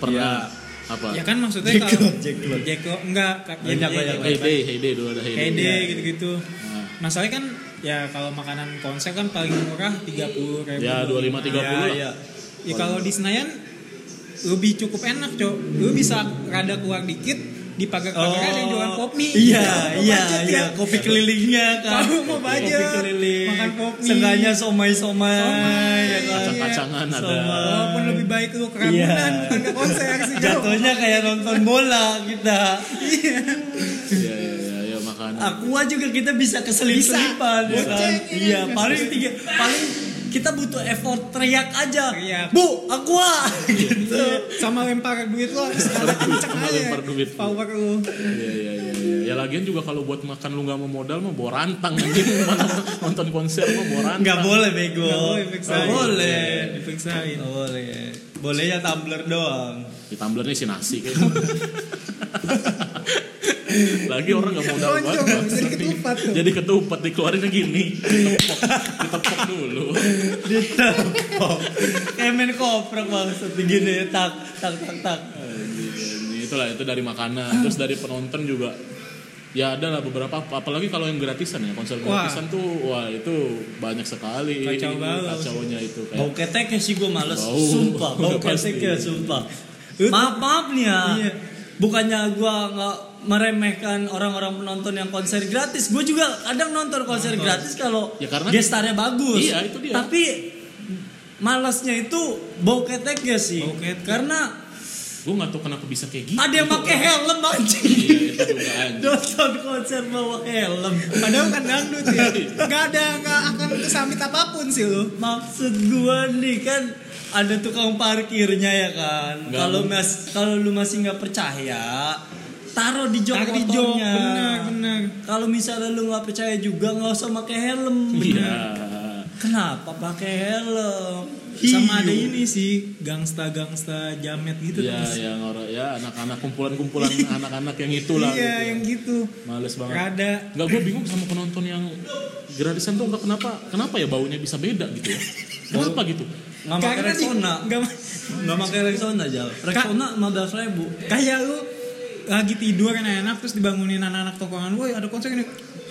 Speaker 1: Pernah apa?
Speaker 3: Ya kan maksudnya
Speaker 2: Jack
Speaker 3: kalau
Speaker 2: Lo, Jack Lo.
Speaker 3: Jeko enggak, Kak.
Speaker 2: Banyak, banyak,
Speaker 1: Hey day, hey day dulu ada hey day.
Speaker 3: KD
Speaker 2: Iya.
Speaker 3: gitu-gitu.
Speaker 1: Nah.
Speaker 3: Masalahnya kan ya kalau makanan konser kan paling murah 30 ribu.
Speaker 1: Ya 25 30
Speaker 2: Ya,
Speaker 1: lah.
Speaker 2: ya.
Speaker 3: Ya kalau di Senayan lebih cukup enak, Cok. Lu bisa rada keluar dikit di pagar-pagar ada kan yang jualan pop mie.
Speaker 2: Iya,
Speaker 3: Kalau mau
Speaker 2: iya,
Speaker 3: budget
Speaker 2: iya.
Speaker 3: ya.
Speaker 2: Kopi kelilingnya kan.
Speaker 3: Kalau mau budget,
Speaker 2: Kopi keliling.
Speaker 3: makan pop mie.
Speaker 2: Seenggaknya somai-somai.
Speaker 3: Somai.
Speaker 2: ya kan?
Speaker 1: Kacang-kacangan ada.
Speaker 2: Somai.
Speaker 3: Walaupun lebih baik lu kerabunan
Speaker 2: Iya.
Speaker 3: bukan ke konser sih, Cok.
Speaker 2: Jatuhnya kayak nonton bola kita.
Speaker 1: Iya iya iya ya,
Speaker 3: Ah,
Speaker 1: makanan.
Speaker 2: Aqua juga kita bisa keselip-selipan
Speaker 3: Bisa.
Speaker 2: ya kan?
Speaker 3: Goceng,
Speaker 2: Iya,
Speaker 3: iya.
Speaker 2: paling tiga paling kita butuh effort teriak aja.
Speaker 3: Teriak.
Speaker 2: Bu, Aqua gitu.
Speaker 3: Sama lempar duit lu harus ada kenceng
Speaker 1: Sama
Speaker 3: aja. ya,
Speaker 1: lempar duit.
Speaker 3: Power lu.
Speaker 1: Iya iya iya iya. Ya lagian juga kalau buat makan lu nggak mau modal mah bawa rantang anjing <laughs> Mana nonton konser mah bawa rantang.
Speaker 2: Enggak boleh bego.
Speaker 3: Nggak boleh dipiksain.
Speaker 2: Nggak boleh.
Speaker 3: Iya, dipiksain.
Speaker 2: Nggak boleh. Bolehnya tumbler doang.
Speaker 1: Di tumblernya si nasi kayaknya. <laughs> Lagi orang nggak modal banget.
Speaker 3: Lonjong,
Speaker 1: Bang.
Speaker 3: jadi ketupat tuh.
Speaker 1: Jadi ketupat dikeluarinnya gini. Ditepok, ditepok dulu.
Speaker 2: Ditepok. Kayak main koprek banget gini tak tak tak tak.
Speaker 1: Anjing, Iya, Itulah itu dari makanan, terus dari penonton juga. Ya ada lah beberapa, apalagi kalau yang gratisan ya konser
Speaker 3: Wah.
Speaker 1: gratisan tuh, wah itu banyak sekali
Speaker 3: Kacau banget.
Speaker 1: kacaunya itu kayak.
Speaker 2: Bau keteknya sih gue males,
Speaker 1: Bau.
Speaker 2: sumpah. Bau
Speaker 1: Udah pasti.
Speaker 2: keteknya sumpah. Maaf maaf nih ya.
Speaker 3: Iya.
Speaker 2: Bukannya gue nggak meremehkan orang-orang penonton yang konser gratis. Gue juga kadang nonton konser gratis kalau
Speaker 1: Ya, karena-
Speaker 2: gestarnya bagus.
Speaker 1: Iya, itu dia.
Speaker 2: Tapi malasnya itu bau keteknya sih.
Speaker 3: Bau ketek.
Speaker 2: Karena
Speaker 1: Gue nggak tahu kenapa bisa kayak gitu.
Speaker 2: ada yang pakai helm anjing.
Speaker 1: Iya itu juga
Speaker 2: <laughs>
Speaker 1: anjing.
Speaker 2: Nonton konser bawa helm.
Speaker 3: Padahal kan dangdut ya. Gak ada, gak akan kesamit apapun sih lu.
Speaker 2: Maksud gua nih kan ada tukang parkirnya ya kan.
Speaker 1: Nggak.
Speaker 2: Kalau mas kalau lu masih nggak percaya, taruh di jok
Speaker 3: Taruh di jok,
Speaker 2: motornya.
Speaker 3: benar, benar.
Speaker 2: Kalau misalnya lu nggak percaya juga nggak usah pakai helm.
Speaker 1: Iya.
Speaker 2: Kenapa pakai helm?
Speaker 3: Sama
Speaker 2: Hiu.
Speaker 3: ada ini sih, gangsta-gangsta jamet gitu.
Speaker 1: Ya,
Speaker 3: Mas.
Speaker 1: yang orang ya anak-anak kumpulan-kumpulan
Speaker 2: <laughs>
Speaker 1: anak-anak yang itulah.
Speaker 3: Iya,
Speaker 1: gitu.
Speaker 3: yang gitu.
Speaker 1: Males banget.
Speaker 2: Kan.
Speaker 3: Rada
Speaker 1: Enggak gue bingung sama penonton yang gratisan tuh enggak kenapa kenapa ya baunya bisa beda
Speaker 2: <laughs>
Speaker 1: gitu ya. Kenapa gitu?
Speaker 2: Nggak pakai
Speaker 3: Karena di-
Speaker 2: Rexona.
Speaker 3: nggak ma-
Speaker 2: Nggak pakai Rexona aja. Rexona 15 ribu.
Speaker 3: kayak lu lagi tidur enak-enak terus dibangunin anak-anak tokongan, woi ada konser ini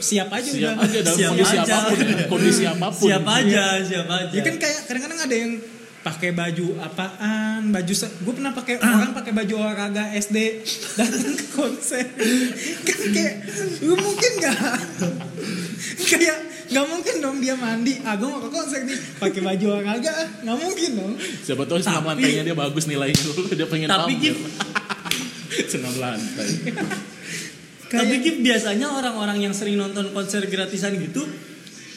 Speaker 3: siap aja
Speaker 1: Siap
Speaker 3: udah.
Speaker 1: aja dalam
Speaker 2: Iya. Siap
Speaker 1: kondisi
Speaker 2: aja.
Speaker 1: apapun, Iya. ya. kondisi apapun.
Speaker 2: Siap aja, siap aja.
Speaker 3: Ya kan kayak kadang-kadang ada yang pakai baju apaan, baju gue pernah pakai
Speaker 2: Ah.
Speaker 3: orang pakai baju olahraga SD <laughs> datang ke konser. kan kayak lu mungkin nggak kayak nggak mungkin dong dia mandi, ah gue mau ke konser nih pakai baju olahraga, ah. nggak mungkin dong.
Speaker 1: Siapa tahu senam
Speaker 2: Tapi-
Speaker 1: lantainya dia bagus nilainya dulu dia pengen pamer.
Speaker 2: Tapi Gif,
Speaker 1: <laughs> senam lantai.
Speaker 2: Tapi Gif, biasanya orang-orang yang sering nonton konser gratisan gitu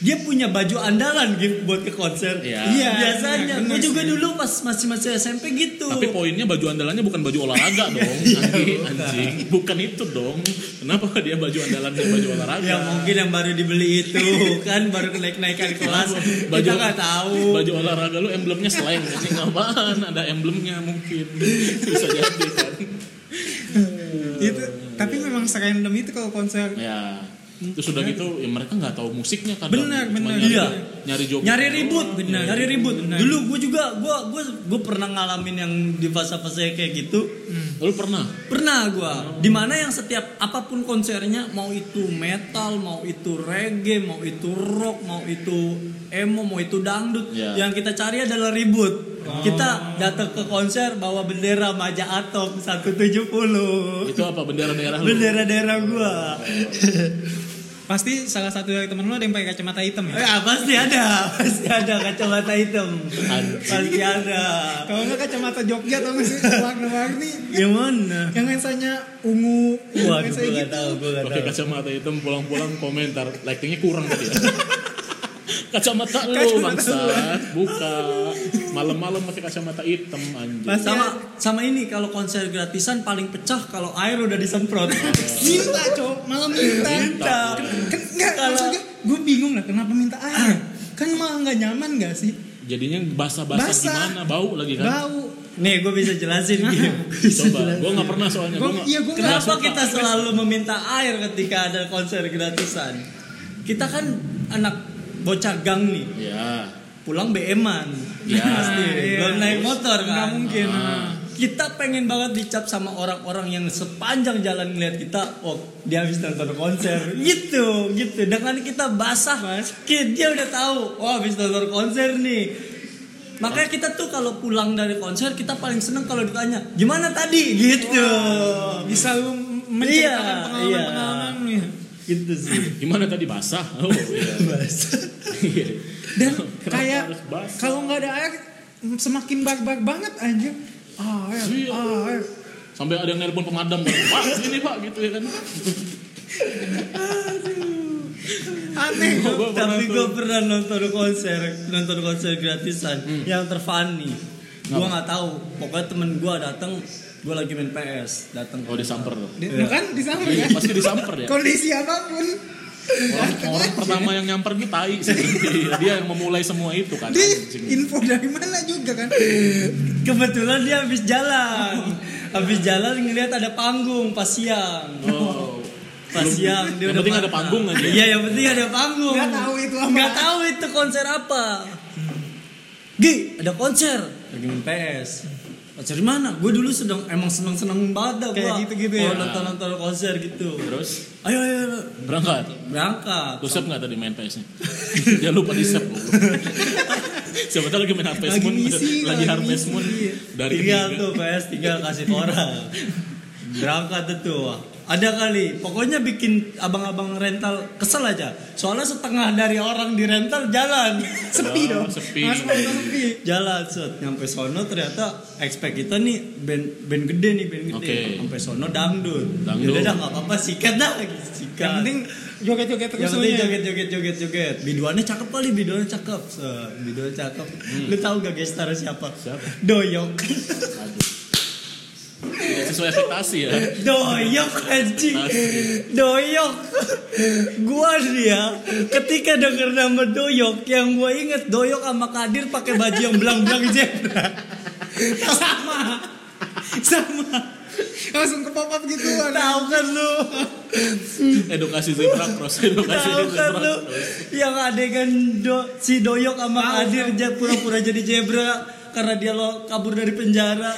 Speaker 2: dia punya baju andalan gitu buat ke konser.
Speaker 1: Iya.
Speaker 3: Iya,
Speaker 2: biasanya.
Speaker 3: bener
Speaker 2: Gue juga
Speaker 3: sih.
Speaker 2: dulu pas masih masih SMP gitu.
Speaker 1: Tapi poinnya baju andalannya bukan baju olahraga
Speaker 2: <laughs>
Speaker 1: dong,
Speaker 2: Iya.
Speaker 1: anjing, anjing. Bukan itu dong. Kenapa dia baju andalannya baju olahraga?
Speaker 2: ya mungkin yang baru dibeli
Speaker 1: <laughs>
Speaker 2: itu kan baru naik naikan kelas.
Speaker 1: Baju-
Speaker 2: Kita nggak tahu.
Speaker 1: Baju olahraga lu emblemnya slang, anjing apaan? Ada emblemnya mungkin. Bisa jadi kan.
Speaker 3: Itu, Gitu. tapi memang serandom itu kalau konser
Speaker 1: Ya. Terus udah gitu ya mereka nggak tahu musiknya kan.
Speaker 3: Benar, benar.
Speaker 1: Nyari,
Speaker 2: Iya.
Speaker 1: Nyari joget.
Speaker 2: nyari ribut,
Speaker 1: doang.
Speaker 2: bener.
Speaker 1: Iya.
Speaker 2: Nyari ribut.
Speaker 3: Bener.
Speaker 2: Dulu gue juga gue gue gue pernah ngalamin yang di fase-fase kayak gitu.
Speaker 1: Lu pernah?
Speaker 2: Pernah
Speaker 1: Oh.
Speaker 2: gua. Dimana yang setiap apapun konsernya mau itu metal, mau itu reggae, mau itu rock, mau itu emo, mau itu dangdut,
Speaker 1: Ya. Oh.
Speaker 2: yang kita cari adalah ribut. Kita datang ke konser bawa bendera Maja Atom 170.
Speaker 1: Itu apa bendera daerah lu?
Speaker 2: Bendera daerah gua.
Speaker 3: pasti salah satu dari temen lu ada yang pakai kacamata hitam ya.
Speaker 2: Ya, pasti ada, <laughs> pasti ada kacamata hitam.
Speaker 1: Anjing.
Speaker 2: Pasti ada.
Speaker 3: Kalau nggak kacamata Jogja tau nggak sih warna-warni
Speaker 2: Yang mana?
Speaker 3: yang lensanya ungu, yang
Speaker 2: Waduh,
Speaker 3: lensanya
Speaker 2: gua gak
Speaker 3: gitu.
Speaker 2: tahu, gua gak
Speaker 1: Pakai
Speaker 2: tahu.
Speaker 1: kacamata hitam pulang-pulang komentar lightingnya kurang tadi. ya. <laughs> kacamata lu
Speaker 3: Kacamata
Speaker 1: bangsa buka malam-malam pakai kacamata hitam anjing
Speaker 3: Pasti
Speaker 2: Sama sama ini kalau konser gratisan paling pecah kalau air udah disemprot.
Speaker 3: minta cowok malah minta
Speaker 1: Minta.
Speaker 3: Kan- kan nggak
Speaker 2: Kalau-
Speaker 3: maksudnya gue bingung lah kenapa minta air kan malah nggak nyaman gak sih
Speaker 1: jadinya basah-basah
Speaker 3: Basah.
Speaker 1: gimana bau lagi kan
Speaker 3: bau
Speaker 2: Nih gue bisa jelasin Gim.
Speaker 1: Coba, gue nggak pernah soalnya.
Speaker 3: Gua-
Speaker 1: Gua nggak-
Speaker 3: iya, gua nggak-
Speaker 2: Kenapa kita selalu meminta air ketika ada konser gratisan? Kita kan anak bocah gang nih,
Speaker 1: Iya.
Speaker 2: pulang BM-an.
Speaker 1: Iya.
Speaker 2: <laughs> Pasti,
Speaker 3: Iya.
Speaker 2: belum naik motor kan.
Speaker 3: Nggak mungkin.
Speaker 1: Ah.
Speaker 2: Kita pengen banget dicap sama orang-orang yang sepanjang jalan ngeliat kita, oh dia habis nonton konser,
Speaker 3: <laughs>
Speaker 2: gitu, gitu. Dengan kita basah, kid, dia udah tahu, oh habis nonton konser nih. Makanya kita tuh kalau pulang dari konser kita paling seneng kalau ditanya gimana tadi gitu.
Speaker 3: Bisa lu
Speaker 2: Iya,
Speaker 3: menceritakan
Speaker 2: iya.
Speaker 3: pengalaman-pengalaman lu ya.
Speaker 2: Gitu sih. <laughs>
Speaker 1: Gimana tadi basah? Oh
Speaker 3: <laughs>
Speaker 1: iya. Iya.
Speaker 3: Dan
Speaker 1: Kenapa
Speaker 3: kayak
Speaker 1: harus basah?
Speaker 3: kalau nggak ada air semakin barbar banget anjir. Air,
Speaker 1: Iya.
Speaker 3: air.
Speaker 1: Sampai ada yang nelpon pemadam, Pak, ini Pak gitu ya kan.
Speaker 3: Aneh.
Speaker 1: Gua pernah
Speaker 2: Tapi
Speaker 1: tuh.
Speaker 2: gue pernah nonton konser, nonton konser gratisan
Speaker 1: Hmm.
Speaker 2: yang terfani. Gue nggak tahu. Pokoknya temen gue datang, gue lagi main PS, datang.
Speaker 1: Oh disamper tuh.
Speaker 3: Di- Kan di sana
Speaker 1: Iya,
Speaker 3: kan?
Speaker 1: pasti disamper ya.
Speaker 3: Kondisi apapun.
Speaker 1: Orang,
Speaker 3: Dateng
Speaker 1: orang
Speaker 3: aja.
Speaker 1: pertama yang nyamper nih tai sih. Dia yang memulai semua itu kan.
Speaker 3: Dia
Speaker 1: anjing.
Speaker 3: info dari mana juga kan?
Speaker 2: Iya. Kebetulan dia habis jalan, habis jalan ngelihat ada panggung pas siang.
Speaker 1: Oh.
Speaker 2: Pas siang
Speaker 1: Yang
Speaker 2: dia udah
Speaker 1: penting ada
Speaker 2: patah.
Speaker 1: panggung aja.
Speaker 2: Iya yang penting ada panggung.
Speaker 3: Nggak tahu itu apa.
Speaker 2: Nggak tahu itu konser apa. Gi ada konser. Lagi main PS. Konser di mana? Gue dulu sedang emang seneng seneng banget dah
Speaker 3: Kayak
Speaker 2: gua.
Speaker 3: gitu-gitu ya.
Speaker 2: Kalau nonton nonton konser gitu.
Speaker 1: Terus
Speaker 2: Ayo ayo, ayo.
Speaker 1: berangkat.
Speaker 2: berangkat.
Speaker 1: Lu save nggak tadi main PS-nya? <laughs> Jangan lupa di save. Siapa tahu lagi main Harvest
Speaker 3: Lagi
Speaker 1: Moon,
Speaker 3: ngisi,
Speaker 1: lagi
Speaker 3: lagi
Speaker 1: Harvest
Speaker 3: ngisi,
Speaker 1: Moon
Speaker 3: iya.
Speaker 1: dari
Speaker 2: tinggal
Speaker 1: ketiga.
Speaker 2: tuh PS tinggal kasih ke orang. Berangkat tuh tuh. Ada kali, pokoknya bikin abang-abang rental kesel aja. Soalnya setengah dari orang di rental
Speaker 1: <laughs>
Speaker 2: jalan.
Speaker 3: Sepi
Speaker 1: Oh,
Speaker 3: dong.
Speaker 1: sepi.
Speaker 3: Mas Ponto sepi.
Speaker 2: jalan set nyampe sono ternyata expect kita nih band band gede nih band gede
Speaker 1: Oke.
Speaker 2: sampai sono dangdut
Speaker 1: Dangdut.
Speaker 2: udah nggak apa-apa sikat dah sikat
Speaker 3: Yang penting joget-joget terus
Speaker 2: yang
Speaker 3: lu
Speaker 2: penting
Speaker 3: ya.
Speaker 2: joget joget joget joget biduannya cakep kali biduannya cakep set biduannya cakep lu tahu gak gestar Hmm. siapa
Speaker 1: Siapa?
Speaker 2: <laughs> doyok
Speaker 1: Aduh. Tidak iya, sesuai ekspektasi ya.
Speaker 2: doyok anjing
Speaker 1: Asli.
Speaker 2: doyok gua dia ketika denger nama doyok yang gua inget doyok sama kadir pakai baju yang belang-belang <laughs> zebra sama sama
Speaker 3: Langsung ke pop up gitu. ada.
Speaker 2: tahu kan lu
Speaker 1: Edukasi zebra cross, edukasi
Speaker 2: tahu kan
Speaker 1: zebra
Speaker 2: lu
Speaker 1: cross.
Speaker 2: yang adegan do, si doyok sama kadir ja- pura-pura jadi zebra karena dia lo kabur dari penjara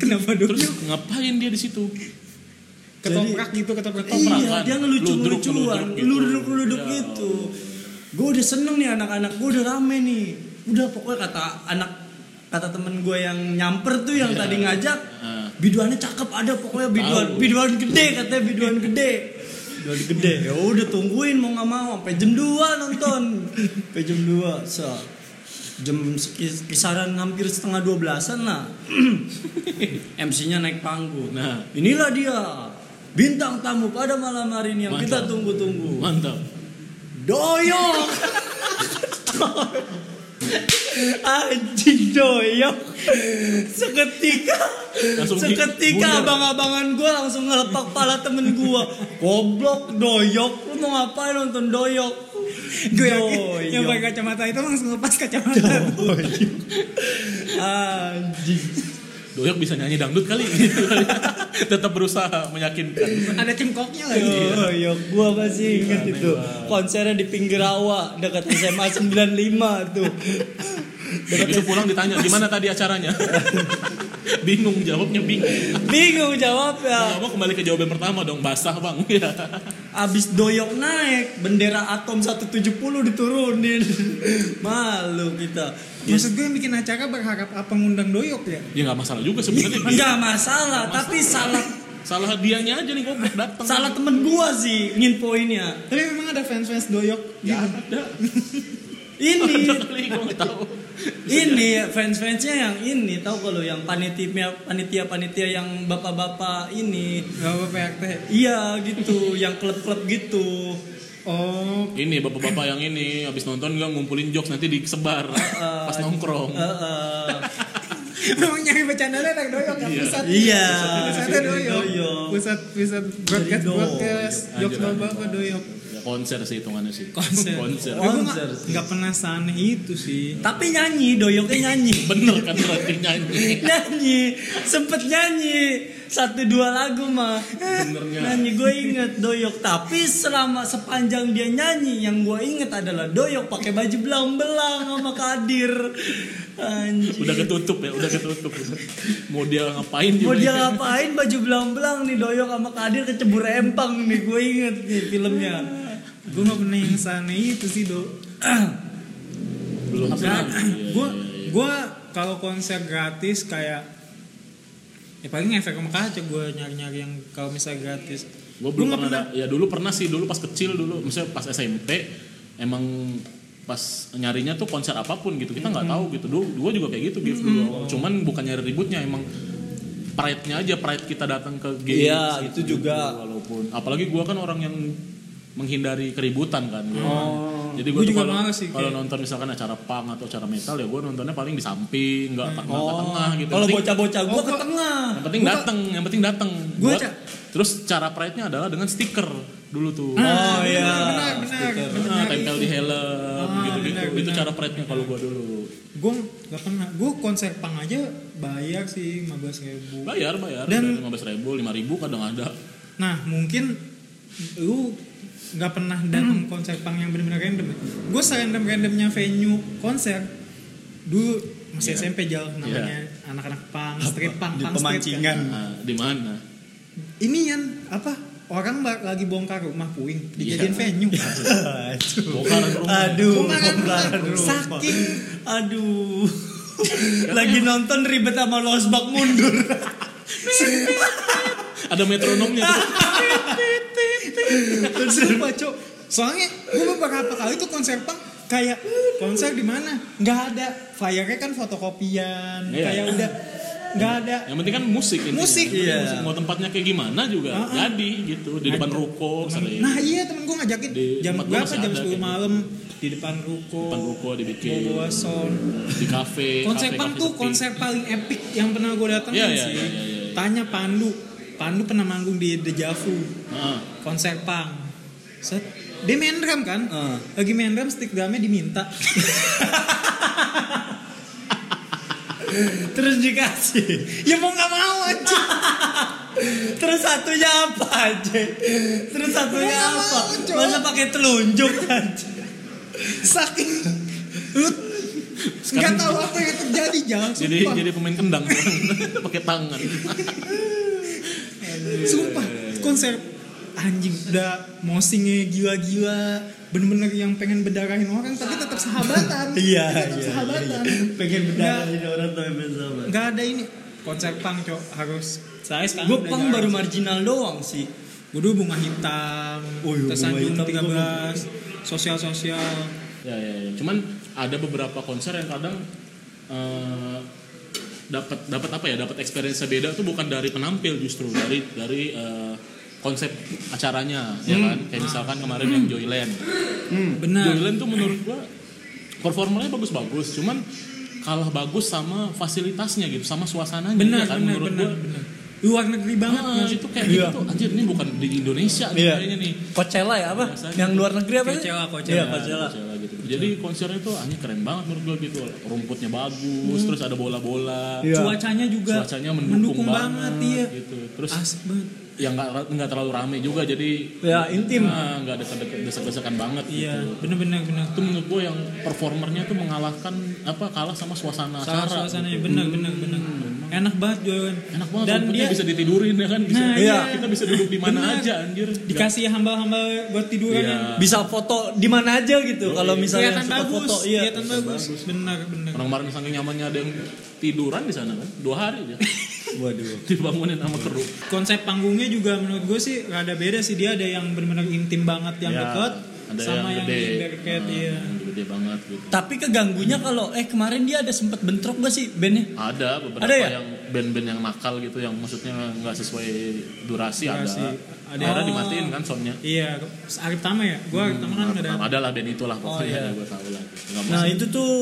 Speaker 3: Kenapa dulu?
Speaker 1: Terus ngapain dia di situ?
Speaker 3: Ketoprak gitu, ketoprak.
Speaker 1: Ketoprak
Speaker 2: Iya,
Speaker 1: kan?
Speaker 2: dia ngelucu-ngelucuan,
Speaker 1: Ludruk-ludruk gitu.
Speaker 2: ludruk-ludruk
Speaker 1: Ya.
Speaker 2: gitu. Gue udah seneng nih anak-anak gue udah rame nih. Udah pokoknya kata anak kata temen gue yang nyamper tuh yang
Speaker 1: Iya.
Speaker 2: tadi ngajak
Speaker 1: Ah.
Speaker 2: biduannya cakep ada pokoknya biduan
Speaker 1: Tahu.
Speaker 2: biduan gede katanya biduan gede biduan gede ya udah tungguin mau nggak mau sampai jam 2 nonton sampai jam 2 so jam sekis- kisaran hampir setengah 12an lah <clears throat> MC-nya naik panggung
Speaker 1: Nah,
Speaker 2: Inilah dia bintang tamu pada malam hari ini yang
Speaker 1: Mantap.
Speaker 2: kita tunggu-tunggu.
Speaker 1: mantap.
Speaker 2: Doyok. Anjing doyok. Seketika
Speaker 1: Langsung di- bundar.
Speaker 2: seketika abang-abangan gua langsung ngelepak pala temen gua. Goblok doyok. Lu mau ngapain nonton doyok?
Speaker 3: Gue yakin Iya, yang
Speaker 2: Doyok.
Speaker 3: pakai kacamata itu langsung lepas kacamata.
Speaker 2: Anjing.
Speaker 1: Doyok bisa nyanyi dangdut kali <laughs> gitu. Tetap berusaha meyakinkan.
Speaker 3: Ada cengkoknya
Speaker 1: Iya.
Speaker 3: lagi.
Speaker 2: Yo, yo, gua masih inget
Speaker 1: Gila,
Speaker 2: itu.
Speaker 1: aneh banget.
Speaker 2: Konsernya di pinggir rawa dekat SMA 95 tuh.
Speaker 1: Begitu pulang ditanya, gimana tadi acaranya? bingung jawabnya
Speaker 2: Iya.
Speaker 1: bingung.
Speaker 2: Bingung ya. jawabnya.
Speaker 1: Kamu kembali ke jawaban pertama dong, basah bang. <laughs> Ya.
Speaker 2: Abis doyok naik, bendera atom 170 diturunin. <laughs> Malu kita.
Speaker 3: Maksud gue yang bikin acara berharap apa ngundang doyok ya?
Speaker 1: ya nggak masalah juga sebenarnya. Dia-
Speaker 2: Iya. Enggak masalah, tapi salah
Speaker 1: Salah dianya aja nih goblok datang. <laughs>
Speaker 2: salah temen gua sih nginfoinnya.
Speaker 3: Tapi memang ada fans-fans doyok
Speaker 1: Ya
Speaker 3: gitu.
Speaker 1: ada.
Speaker 2: Ini
Speaker 1: <laughs> Ada kali gue nggak tahu.
Speaker 2: ini fans-fansnya yang ini tahu kalau yang panitia panitia panitia yang bapak-bapak ini
Speaker 3: Gak apa PRT.
Speaker 2: Iya gitu, yang klub-klub gitu.
Speaker 3: Oh, <laughs>
Speaker 1: Ini bapak-bapak yang ini habis nonton nggak ngumpulin jokes nanti disebar pas nongkrong.
Speaker 2: Eh, eh.
Speaker 3: memang nyari bercanda ada doyok yang
Speaker 1: Iya.
Speaker 3: pusat.
Speaker 2: Iya.
Speaker 3: Pusatnya doyok.
Speaker 2: Doyok.
Speaker 3: Pusat pusat broadcast
Speaker 2: Jadi doyok.
Speaker 3: broadcast jokes
Speaker 1: Anjir,
Speaker 3: bapak ke doyok.
Speaker 1: Ya, konser sih hitungannya sih
Speaker 3: konser. Oh.
Speaker 1: konser
Speaker 3: Tapi gua
Speaker 2: Konser
Speaker 3: nggak-
Speaker 2: sih.
Speaker 3: nggak pernah seaneh itu sih.
Speaker 2: Tapi nyanyi, doyoknya nyanyi.
Speaker 1: bener kan berarti nyanyi
Speaker 2: <laughs> nyanyi, sempet nyanyi satu dua lagu mah.
Speaker 1: Benernya.
Speaker 2: Nyanyi gue inget doyok, tapi selama sepanjang dia nyanyi yang gue inget adalah doyok pakai baju belang-belang sama Kadir. Anjir.
Speaker 1: udah ketutup ya udah ketutup mau dia ngapain juga
Speaker 2: Mau dia
Speaker 1: ya.
Speaker 2: ngapain baju belang-belang nih doyok sama Kadir kecebur empang nih gue inget nih filmnya.
Speaker 3: Gue nggak pernah yang seaneh itu sih do.
Speaker 1: belum sih
Speaker 3: Apaan?
Speaker 1: Iya,
Speaker 3: Gue
Speaker 1: iya,
Speaker 3: gue kalau konser gratis kayak ya paling efek sama kaca gue nyari-nyari yang kalau misalnya gratis.
Speaker 1: iya. Gua
Speaker 3: Gua
Speaker 1: belum
Speaker 3: nggak
Speaker 1: pernah ada- ya dulu pernah sih dulu pas kecil dulu misalnya pas SMP emang pas nyarinya tuh konser apapun gitu kita nggak tahu gitu dulu gue juga kayak gitu gitu cuman bukan nyari ributnya emang pride-nya aja pride kita datang ke games gitu
Speaker 2: Iya, itu juga.
Speaker 1: walaupun apalagi gue kan orang yang menghindari keributan kan gua. jadi gue
Speaker 3: Gua juga
Speaker 1: kalau
Speaker 3: males sih,
Speaker 1: kalau
Speaker 3: kayak-
Speaker 1: nonton misalkan acara punk atau acara metal ya gue nontonnya paling di samping nggak nggak ke tengah gitu
Speaker 2: Oh. Kalau
Speaker 1: Yang penting-
Speaker 2: bocah-bocah gue
Speaker 3: Oh,
Speaker 2: ke
Speaker 3: gua-
Speaker 2: tengah.
Speaker 1: yang penting datang, yang penting datang.
Speaker 3: Gua
Speaker 1: Buat-
Speaker 3: ca-
Speaker 1: terus cara pride-nya adalah dengan stiker dulu tuh.
Speaker 2: Oh iya.
Speaker 3: Benar benar Ah. benar.
Speaker 1: Nah, tempel di helm
Speaker 3: Ah,
Speaker 1: gitu-gitu.
Speaker 3: benar,
Speaker 1: Itu
Speaker 3: benar.
Speaker 1: cara pride-nya kalau gua dulu.
Speaker 3: Gue nggak pernah. Gue konser pang aja bayar sih 15.000 ribu.
Speaker 1: Bayar, bayar.
Speaker 3: Dan-
Speaker 1: lima belas ribu, lima ribu kadang ada.
Speaker 3: Nah mungkin lu nggak pernah datang konser pang yang benar-benar random. Gue serandom randomnya venue konser dulu masih
Speaker 1: Iya.
Speaker 3: SMP jauh namanya anak-anak pang, street pang,
Speaker 2: Di
Speaker 3: pang street kan.
Speaker 2: pemancingan.
Speaker 1: Nah, di mana?
Speaker 3: Ini yang apa orang ba- lagi bongkar rumah puing
Speaker 1: Iya.
Speaker 3: dijadiin venue. Ah.
Speaker 1: Bongkaran Oh. rumah.
Speaker 2: <laughs>
Speaker 1: kan
Speaker 2: Aduh,
Speaker 3: Kemarin
Speaker 2: kebakaran
Speaker 3: rumah.
Speaker 2: rumah.
Speaker 3: Saking
Speaker 2: Aduh. <laughs> Lagi nonton ribet sama losbak mundur.
Speaker 1: Ada metronomnya tuh.
Speaker 3: Sumpah cok Soalnya gue beberapa kali tuh konser pang kayak konser di mana nggak ada flyernya kan fotokopian
Speaker 1: Iya.
Speaker 3: kayak udah nggak ada
Speaker 1: Yang penting kan musik intinya.
Speaker 3: Musik,
Speaker 1: Yang penting
Speaker 2: iya.
Speaker 1: musik. Mau tempatnya kayak gimana juga.
Speaker 3: Ah, ah.
Speaker 1: Jadi gitu di depan ruko sering.
Speaker 3: nah iya temen gue ngajakin
Speaker 1: Di
Speaker 3: jam
Speaker 1: tempat gua
Speaker 3: berapa
Speaker 1: masih
Speaker 3: jam
Speaker 1: ada
Speaker 3: 10
Speaker 1: kayak gitu.
Speaker 3: malam di depan ruko
Speaker 1: Depan ruko dibikin.
Speaker 3: bawa sound
Speaker 1: Di kafe.
Speaker 3: konser
Speaker 1: kafe-
Speaker 3: pang
Speaker 1: kafe
Speaker 3: tuh
Speaker 1: sepi.
Speaker 3: konser paling epic yang pernah gue datengin
Speaker 1: Iya, iya,
Speaker 3: sih
Speaker 1: iya, iya, iya.
Speaker 3: tanya Pandu Pandu pernah manggung di Dejavu
Speaker 1: Nah,
Speaker 3: konser pang set dia main drum kan
Speaker 2: Ah.
Speaker 3: lagi main drum stick drumnya diminta
Speaker 2: <laughs> Terus dikasih.
Speaker 3: ya mau nggak mau aja
Speaker 2: Terus satunya apa aja? Terus satunya
Speaker 3: Gua nggak
Speaker 2: apa?
Speaker 3: mau, Cok.
Speaker 2: Masa pakai telunjuk aja?
Speaker 3: saking lu nggak
Speaker 1: Sekarang-
Speaker 3: tahu apa yang terjadi jangan
Speaker 1: jadi
Speaker 3: sumpah
Speaker 1: jadi pemain kendang <laughs> pakai tangan.
Speaker 3: sumpah konser anjing udah mosingnya gila-gila bener-bener yang pengen bedarahin orang tapi tetap sahabatan
Speaker 2: <laughs> Iya,
Speaker 3: tetap
Speaker 2: iya,
Speaker 3: sahabatan
Speaker 2: Pengen
Speaker 3: Nggak-
Speaker 2: bedarahin orang tapi bersama.
Speaker 3: nggak ada ini konser pang cok harus Eh, saya sekarang
Speaker 2: Gue
Speaker 3: udah
Speaker 2: pang
Speaker 3: jarang
Speaker 2: baru
Speaker 3: sih.
Speaker 2: marginal doang sih.
Speaker 3: Gua dulu bunga hitam
Speaker 2: Oh iya, Bunga
Speaker 3: tersanjung
Speaker 2: Hitam gua
Speaker 3: 13 sosial sosial
Speaker 1: ya, ya, ya. Cuman ada beberapa konser yang kadang eh, dapat dapat apa ya? Dapat experience beda tuh bukan dari penampil justru dari dari eh, konsep acaranya ya
Speaker 3: Hmm.
Speaker 1: kan. Kayak misalkan kemarin yang Joyland.
Speaker 3: benar
Speaker 1: Joyland tuh menurut gua performanya bagus-bagus, cuman kalah bagus sama fasilitasnya gitu, sama suasananya ya
Speaker 3: benar
Speaker 1: kan
Speaker 3: benar
Speaker 1: menurut
Speaker 3: benar
Speaker 1: gua.
Speaker 3: benar. luar negeri banget
Speaker 1: Ah,
Speaker 3: nggak sih?
Speaker 1: itu kayak
Speaker 2: Iya.
Speaker 1: gitu anjir ini bukan di Indonesia nih
Speaker 2: Iya.
Speaker 1: kayaknya nih.
Speaker 2: Coachella ya apa?
Speaker 1: Biasanya.
Speaker 2: Yang luar negeri apa? sih?
Speaker 3: Coachella, Coachella.
Speaker 2: Iya,
Speaker 1: Ya,
Speaker 2: Coachella.
Speaker 1: Coachella gitu. Jadi konsernya tuh anjir keren banget menurut gua gitu. Rumputnya bagus, terus ada bola-bola.
Speaker 2: Iya.
Speaker 3: cuacanya juga
Speaker 1: Cuacanya mendukung,
Speaker 3: banget, iya
Speaker 1: gitu. Terus
Speaker 3: asik banget
Speaker 1: yang nggak nggak terlalu rame juga jadi
Speaker 2: Ya, intim.
Speaker 1: ah, nggak ada desek-desekan banget
Speaker 3: iya
Speaker 1: gitu.
Speaker 3: benar-benar benar
Speaker 1: Itu menurut gua yang performernya tuh mengalahkan apa kalah sama suasana acara.
Speaker 3: salah
Speaker 1: gitu. Hmm.
Speaker 3: suasananya
Speaker 2: iya.
Speaker 3: benar benar benar enak banget Joyon
Speaker 1: Enak banget
Speaker 3: dan
Speaker 1: rumputnya
Speaker 3: dia
Speaker 1: bisa ditidurin ya kan bisa.
Speaker 3: Nah,
Speaker 2: iya.
Speaker 1: Kita bisa duduk di mana
Speaker 3: Benar.
Speaker 1: aja anjir.
Speaker 3: dikasih hamba-hamba buat tiduran
Speaker 1: Iya.
Speaker 3: yang
Speaker 2: Bisa foto di mana aja gitu. Kalau misalnya
Speaker 3: kelihatan
Speaker 2: suka
Speaker 3: bagus
Speaker 2: foto, iya.
Speaker 3: kelihatan bagus benar benar
Speaker 1: Orang kemarin saking nyamannya ada yang tiduran di sana kan. Dua hari aja.
Speaker 2: Waduh.
Speaker 1: Dibangunin sama keruh.
Speaker 3: konsep panggungnya juga menurut gue sih rada beda sih dia ada yang benar-benar intim banget yang
Speaker 1: Ya,
Speaker 3: dekat
Speaker 1: ada
Speaker 3: sama yang,
Speaker 1: gede.
Speaker 3: di barricade
Speaker 1: Nah,
Speaker 3: iya
Speaker 1: yang gede banget gitu
Speaker 2: Tapi keganggunya kalau eh kemarin dia ada sempat bentrok gak sih bandnya?
Speaker 1: ada beberapa
Speaker 2: Ada ya?
Speaker 1: yang band-band yang nakal gitu yang maksudnya nggak sesuai durasi,
Speaker 3: Durasi.
Speaker 1: ada
Speaker 3: Ada.
Speaker 1: ada
Speaker 3: Oh.
Speaker 1: dimatiin kan soundnya Hmm,
Speaker 3: iya Arif Tama ya gue Arif
Speaker 2: Hmm.
Speaker 3: Tama kan ada
Speaker 1: ada lah band itulah pokoknya
Speaker 2: iya.
Speaker 1: gue tahu lah nggak mau
Speaker 2: Nah itu tuh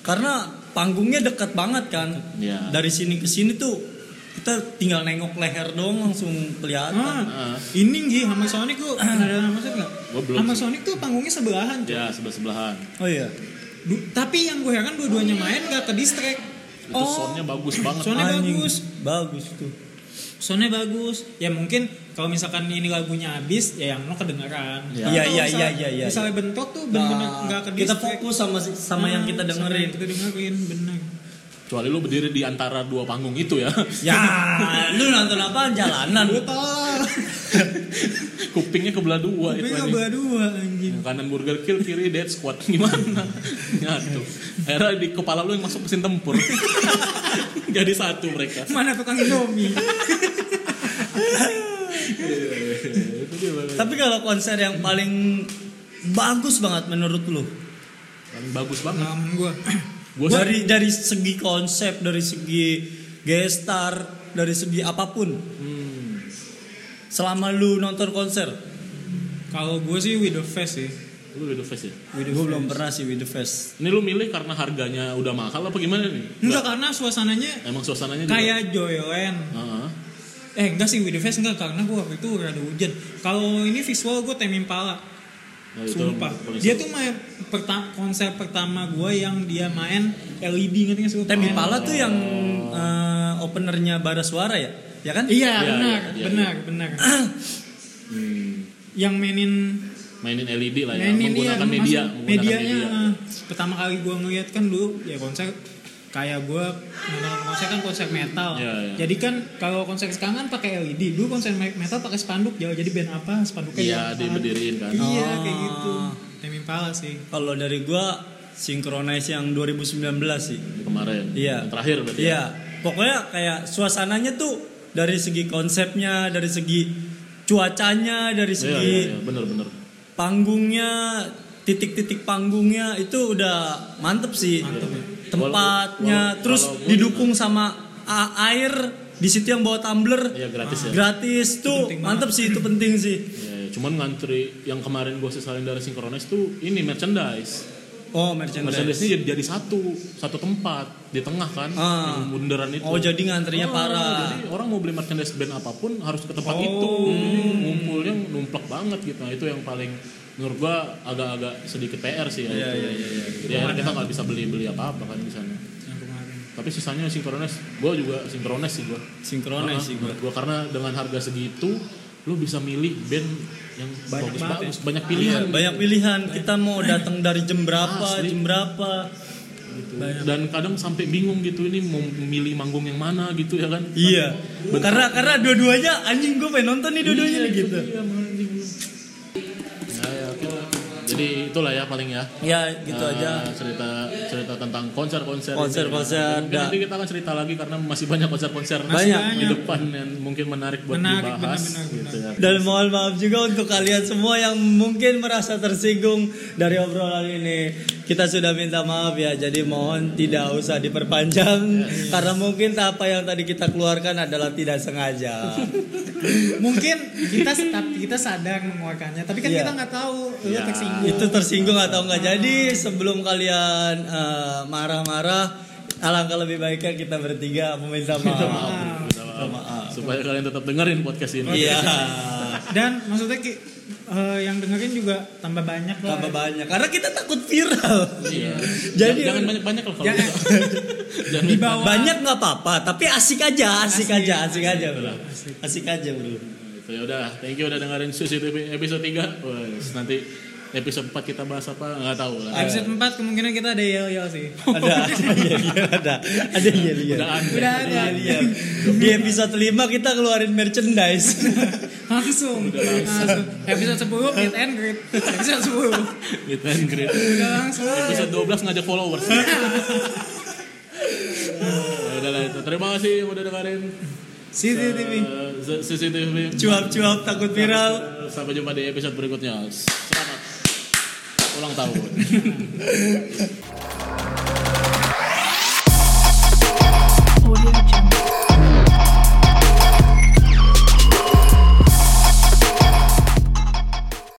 Speaker 2: karena panggungnya dekat banget kan.
Speaker 1: Iya.
Speaker 2: Dari sini ke sini tuh kita tinggal nengok leher doang langsung kelihatan.
Speaker 1: Ah.
Speaker 3: Ah, ini nggih sama Sonic lu
Speaker 2: <clears throat>
Speaker 3: pernah dalam Sonic nggak?
Speaker 1: Gua belum
Speaker 3: Sama
Speaker 1: sih.
Speaker 3: Sonic tuh panggungnya sebelahan. cuy.
Speaker 1: ya sebelah sebelahan
Speaker 2: Oh iya.
Speaker 3: Du- tapi yang gue heran dua-duanya main gak ke distrack.
Speaker 1: itu soundnya bagus banget
Speaker 3: Oh. Soundnya
Speaker 2: Anjing,
Speaker 3: bagus.
Speaker 2: Bagus tuh.
Speaker 3: Soundnya bagus. Ya mungkin kalau misalkan ini lagunya habis ya yang lo kedengeran.
Speaker 1: Iya.
Speaker 3: Tapi
Speaker 2: Iya,
Speaker 3: kalau
Speaker 2: iya,
Speaker 3: misalnya-
Speaker 2: iya, iya, iya.
Speaker 3: Misalnya bentrok tuh bener-bener
Speaker 2: Nah,
Speaker 3: nggak Ah, ke
Speaker 2: kita
Speaker 3: distrack.
Speaker 2: fokus sama sama yang kita
Speaker 3: Sama yang
Speaker 2: dengerin.
Speaker 3: kita dengerin bener.
Speaker 1: kecuali lu berdiri di antara dua panggung itu ya <laughs>
Speaker 2: Ya, lu nonton apaan jalanan? Lu
Speaker 3: Tolol.
Speaker 1: kupingnya kebelah dua
Speaker 3: Tapi
Speaker 1: itu
Speaker 3: nggak
Speaker 1: anjing.
Speaker 3: berdua anjing. <laughs>
Speaker 1: Yang kanan Burger Kill, kiri Dead Squad <laughs> gimana? Nyatu. Akhirnya di kepala lu yang masuk mesin tempur. <laughs> Jadi satu mereka.
Speaker 3: Mana tukang Indomie?
Speaker 2: Tapi kalau konser yang paling bagus banget menurut lu
Speaker 1: Paling bagus banget.
Speaker 3: Pengalaman gue.
Speaker 1: Gua sih
Speaker 2: dari dari segi konsep, dari segi gestar, dari segi apapun.
Speaker 1: Hmm.
Speaker 2: Selama lu nonton konser,
Speaker 3: <clears throat> Kalau gue sih with the face sih.
Speaker 1: lu udah face ya.
Speaker 2: gue belum pernah sih with the fest.
Speaker 1: Ini lu milih karena harganya udah mahal apa gimana nih?
Speaker 3: Enggak karena suasananya
Speaker 1: Emang suasananya juga-
Speaker 3: kayak Joyland.
Speaker 1: Heeh.
Speaker 3: Eh enggak sih with the face enggak karena gue waktu itu rada hujan. Kalau ini visual gue Tame Impala.
Speaker 1: Nah, itu
Speaker 3: Sumpah.
Speaker 1: paling
Speaker 3: Iya. Dia
Speaker 1: seru.
Speaker 3: tuh main perta- konser pertama gue yang dia main LED ngerti gak sih? lu?
Speaker 2: Temi
Speaker 3: Main- Oh.
Speaker 2: Pala tuh yang eh, openernya Bara Suara ya, ya kan?
Speaker 3: Iya,
Speaker 1: Iya,
Speaker 3: benar,
Speaker 1: iya, iya.
Speaker 3: benar, benar.
Speaker 1: Hmm,
Speaker 3: yang mainin
Speaker 1: mainin LED lah ya,
Speaker 3: mainin iya,
Speaker 1: menggunakan
Speaker 3: maksud-
Speaker 1: media, Iya, menggunakan
Speaker 3: medianya. eh, Pertama kali gue ngeliat kan dulu ya konser kayak gue nonton konser kan konser metal.
Speaker 1: Iya, iya.
Speaker 3: Jadi kan kalau konser sekarang kan pakai LED. Dulu konser me- metal pakai spanduk ya. Jadi band apa spanduknya
Speaker 1: Iya,
Speaker 3: di apaan.
Speaker 1: diberdiriin kan.
Speaker 3: Iya,
Speaker 2: Oh.
Speaker 3: kayak gitu. Tame Impala sih.
Speaker 2: Kalau dari gua Synchronize yang 2019 sih.
Speaker 1: Kemarin.
Speaker 2: Iya.
Speaker 1: Yang terakhir berarti. ya?
Speaker 2: Iya, pokoknya kayak suasananya tuh dari segi konsepnya, dari segi cuacanya, dari
Speaker 1: Iya,
Speaker 2: segi
Speaker 1: iya, iya, bener-bener.
Speaker 2: panggungnya, titik-titik panggungnya itu udah mantep sih.
Speaker 3: Mantep ya.
Speaker 2: Tempatnya,
Speaker 1: Walau-
Speaker 2: terus
Speaker 1: walaupun-
Speaker 2: didukung sama a- air di situ yang bawa tumbler
Speaker 1: Iya, gratis ya.
Speaker 2: gratis tuh
Speaker 3: penting
Speaker 2: mantep sih itu penting sih.
Speaker 1: Iya, iya. cuman ngantri yang kemarin gue sesalin dari Synchronize tuh ini merchandise.
Speaker 2: Oh merchandise.
Speaker 1: Merchandise-nya jadi, jadi satu, satu tempat di tengah kan,
Speaker 2: Ah.
Speaker 1: yang bundaran itu.
Speaker 2: Oh jadi
Speaker 1: Oh,
Speaker 2: ngantrinya parah.
Speaker 1: Jadi orang mau beli merchandise band apapun harus ke tempat
Speaker 3: Oh.
Speaker 1: itu. Jadi ngumpulnya numplak banget gitu. Nah, itu yang paling menurut gua agak-agak sedikit PR sih ya. itu.
Speaker 2: Iya, iya, iya, iya.
Speaker 1: Jadi akhirnya kita nggak bisa beli-beli apa-apa kan di sana.
Speaker 3: Yang kemarin.
Speaker 1: Tapi sisanya sinkronis. Gua juga sinkronis sih gua.
Speaker 2: Sinkronis
Speaker 1: Ah,
Speaker 2: sih gua.
Speaker 1: menurut gua karena dengan harga segitu lu bisa milih band yang
Speaker 3: Banyak
Speaker 1: bagus-bagus,
Speaker 3: banget ya?
Speaker 1: banyak pilihan.
Speaker 2: Iya, Banyak pilihan kita mau datang dari jam berapa,
Speaker 1: Asli.
Speaker 2: jam berapa.
Speaker 1: gitu. Dan kadang sampai bingung gitu ini mau milih manggung yang mana gitu ya kan.
Speaker 2: Iya. Karena karena dua-duanya anjing gue pengen nonton nih dua-duanya nih gitu.
Speaker 1: Iya, anjing. Ya, ya, oke lah. Jadi itulah ya paling ya.
Speaker 2: Ya gitu
Speaker 1: Eh,
Speaker 2: aja.
Speaker 1: cerita cerita tentang konser-konser. ini.
Speaker 2: Konser-konser,
Speaker 1: Mungkin
Speaker 2: dah.
Speaker 1: Nanti kita akan cerita lagi karena masih banyak konser-konser
Speaker 2: Banyak.
Speaker 1: di depan yang mungkin menarik buat
Speaker 3: Menarik,
Speaker 1: dibahas
Speaker 3: benar, benar,
Speaker 1: gitu ya.
Speaker 2: Dan mohon maaf juga untuk kalian semua yang mungkin merasa tersinggung dari obrolan ini. Kita sudah minta maaf ya, jadi mohon tidak usah diperpanjang
Speaker 1: Iya.
Speaker 2: karena mungkin apa yang tadi kita keluarkan adalah tidak
Speaker 1: <laughs>
Speaker 2: sengaja.
Speaker 3: mungkin kita tapi kita sadar mengeluarkannya tapi kan
Speaker 2: Iya.
Speaker 3: kita nggak tahu lu
Speaker 1: Iya.
Speaker 3: tersinggung
Speaker 2: Itu tersinggung atau enggak. Jadi sebelum kalian eh, marah-marah, alangkah lebih baiknya kita bertiga meminta maaf.
Speaker 1: Minta maaf. ya. Supaya kalian tetap dengerin podcast ini.
Speaker 2: Iya.
Speaker 3: dan maksudnya ki, eh, yang dengerin juga tambah banyak lah
Speaker 2: tambah banyak karena kita takut viral
Speaker 1: Iya.
Speaker 2: Jadi-
Speaker 1: jangan banyak-banyak lah kalau
Speaker 3: Jangan.
Speaker 2: <laughs>
Speaker 1: bisa. Jangan
Speaker 3: di bawah
Speaker 2: banyak nggak apa-apa tapi asik aja asik,
Speaker 3: Asik,
Speaker 2: aja asik, aja bro
Speaker 3: asik.
Speaker 2: asik aja bro
Speaker 1: Itu ya udah, thank you udah dengerin Susi TV episode 3. Wes, nanti episode 4 kita bahas apa nggak tahu lah.
Speaker 3: episode 4 kemungkinan kita ada yel yel sih
Speaker 2: ada <laughs> iya iya ada ada iya iya
Speaker 1: Udah aneh.
Speaker 3: Udah
Speaker 2: Iya,
Speaker 3: ada.
Speaker 2: iya. di episode 5 kita keluarin merchandise <laughs>
Speaker 3: langsung, langsung. episode 10 meet and greet episode 10
Speaker 1: Meet and greet.
Speaker 3: udah langsung
Speaker 1: Episode 12 ngajak followers. ya udah lah itu. Terima kasih yang udah dengerin.
Speaker 3: CCTV
Speaker 1: Eh, Z- CCTV.
Speaker 2: cuap-cuap takut viral
Speaker 1: Sampai jumpa di episode berikutnya. Selamat ulang tahun.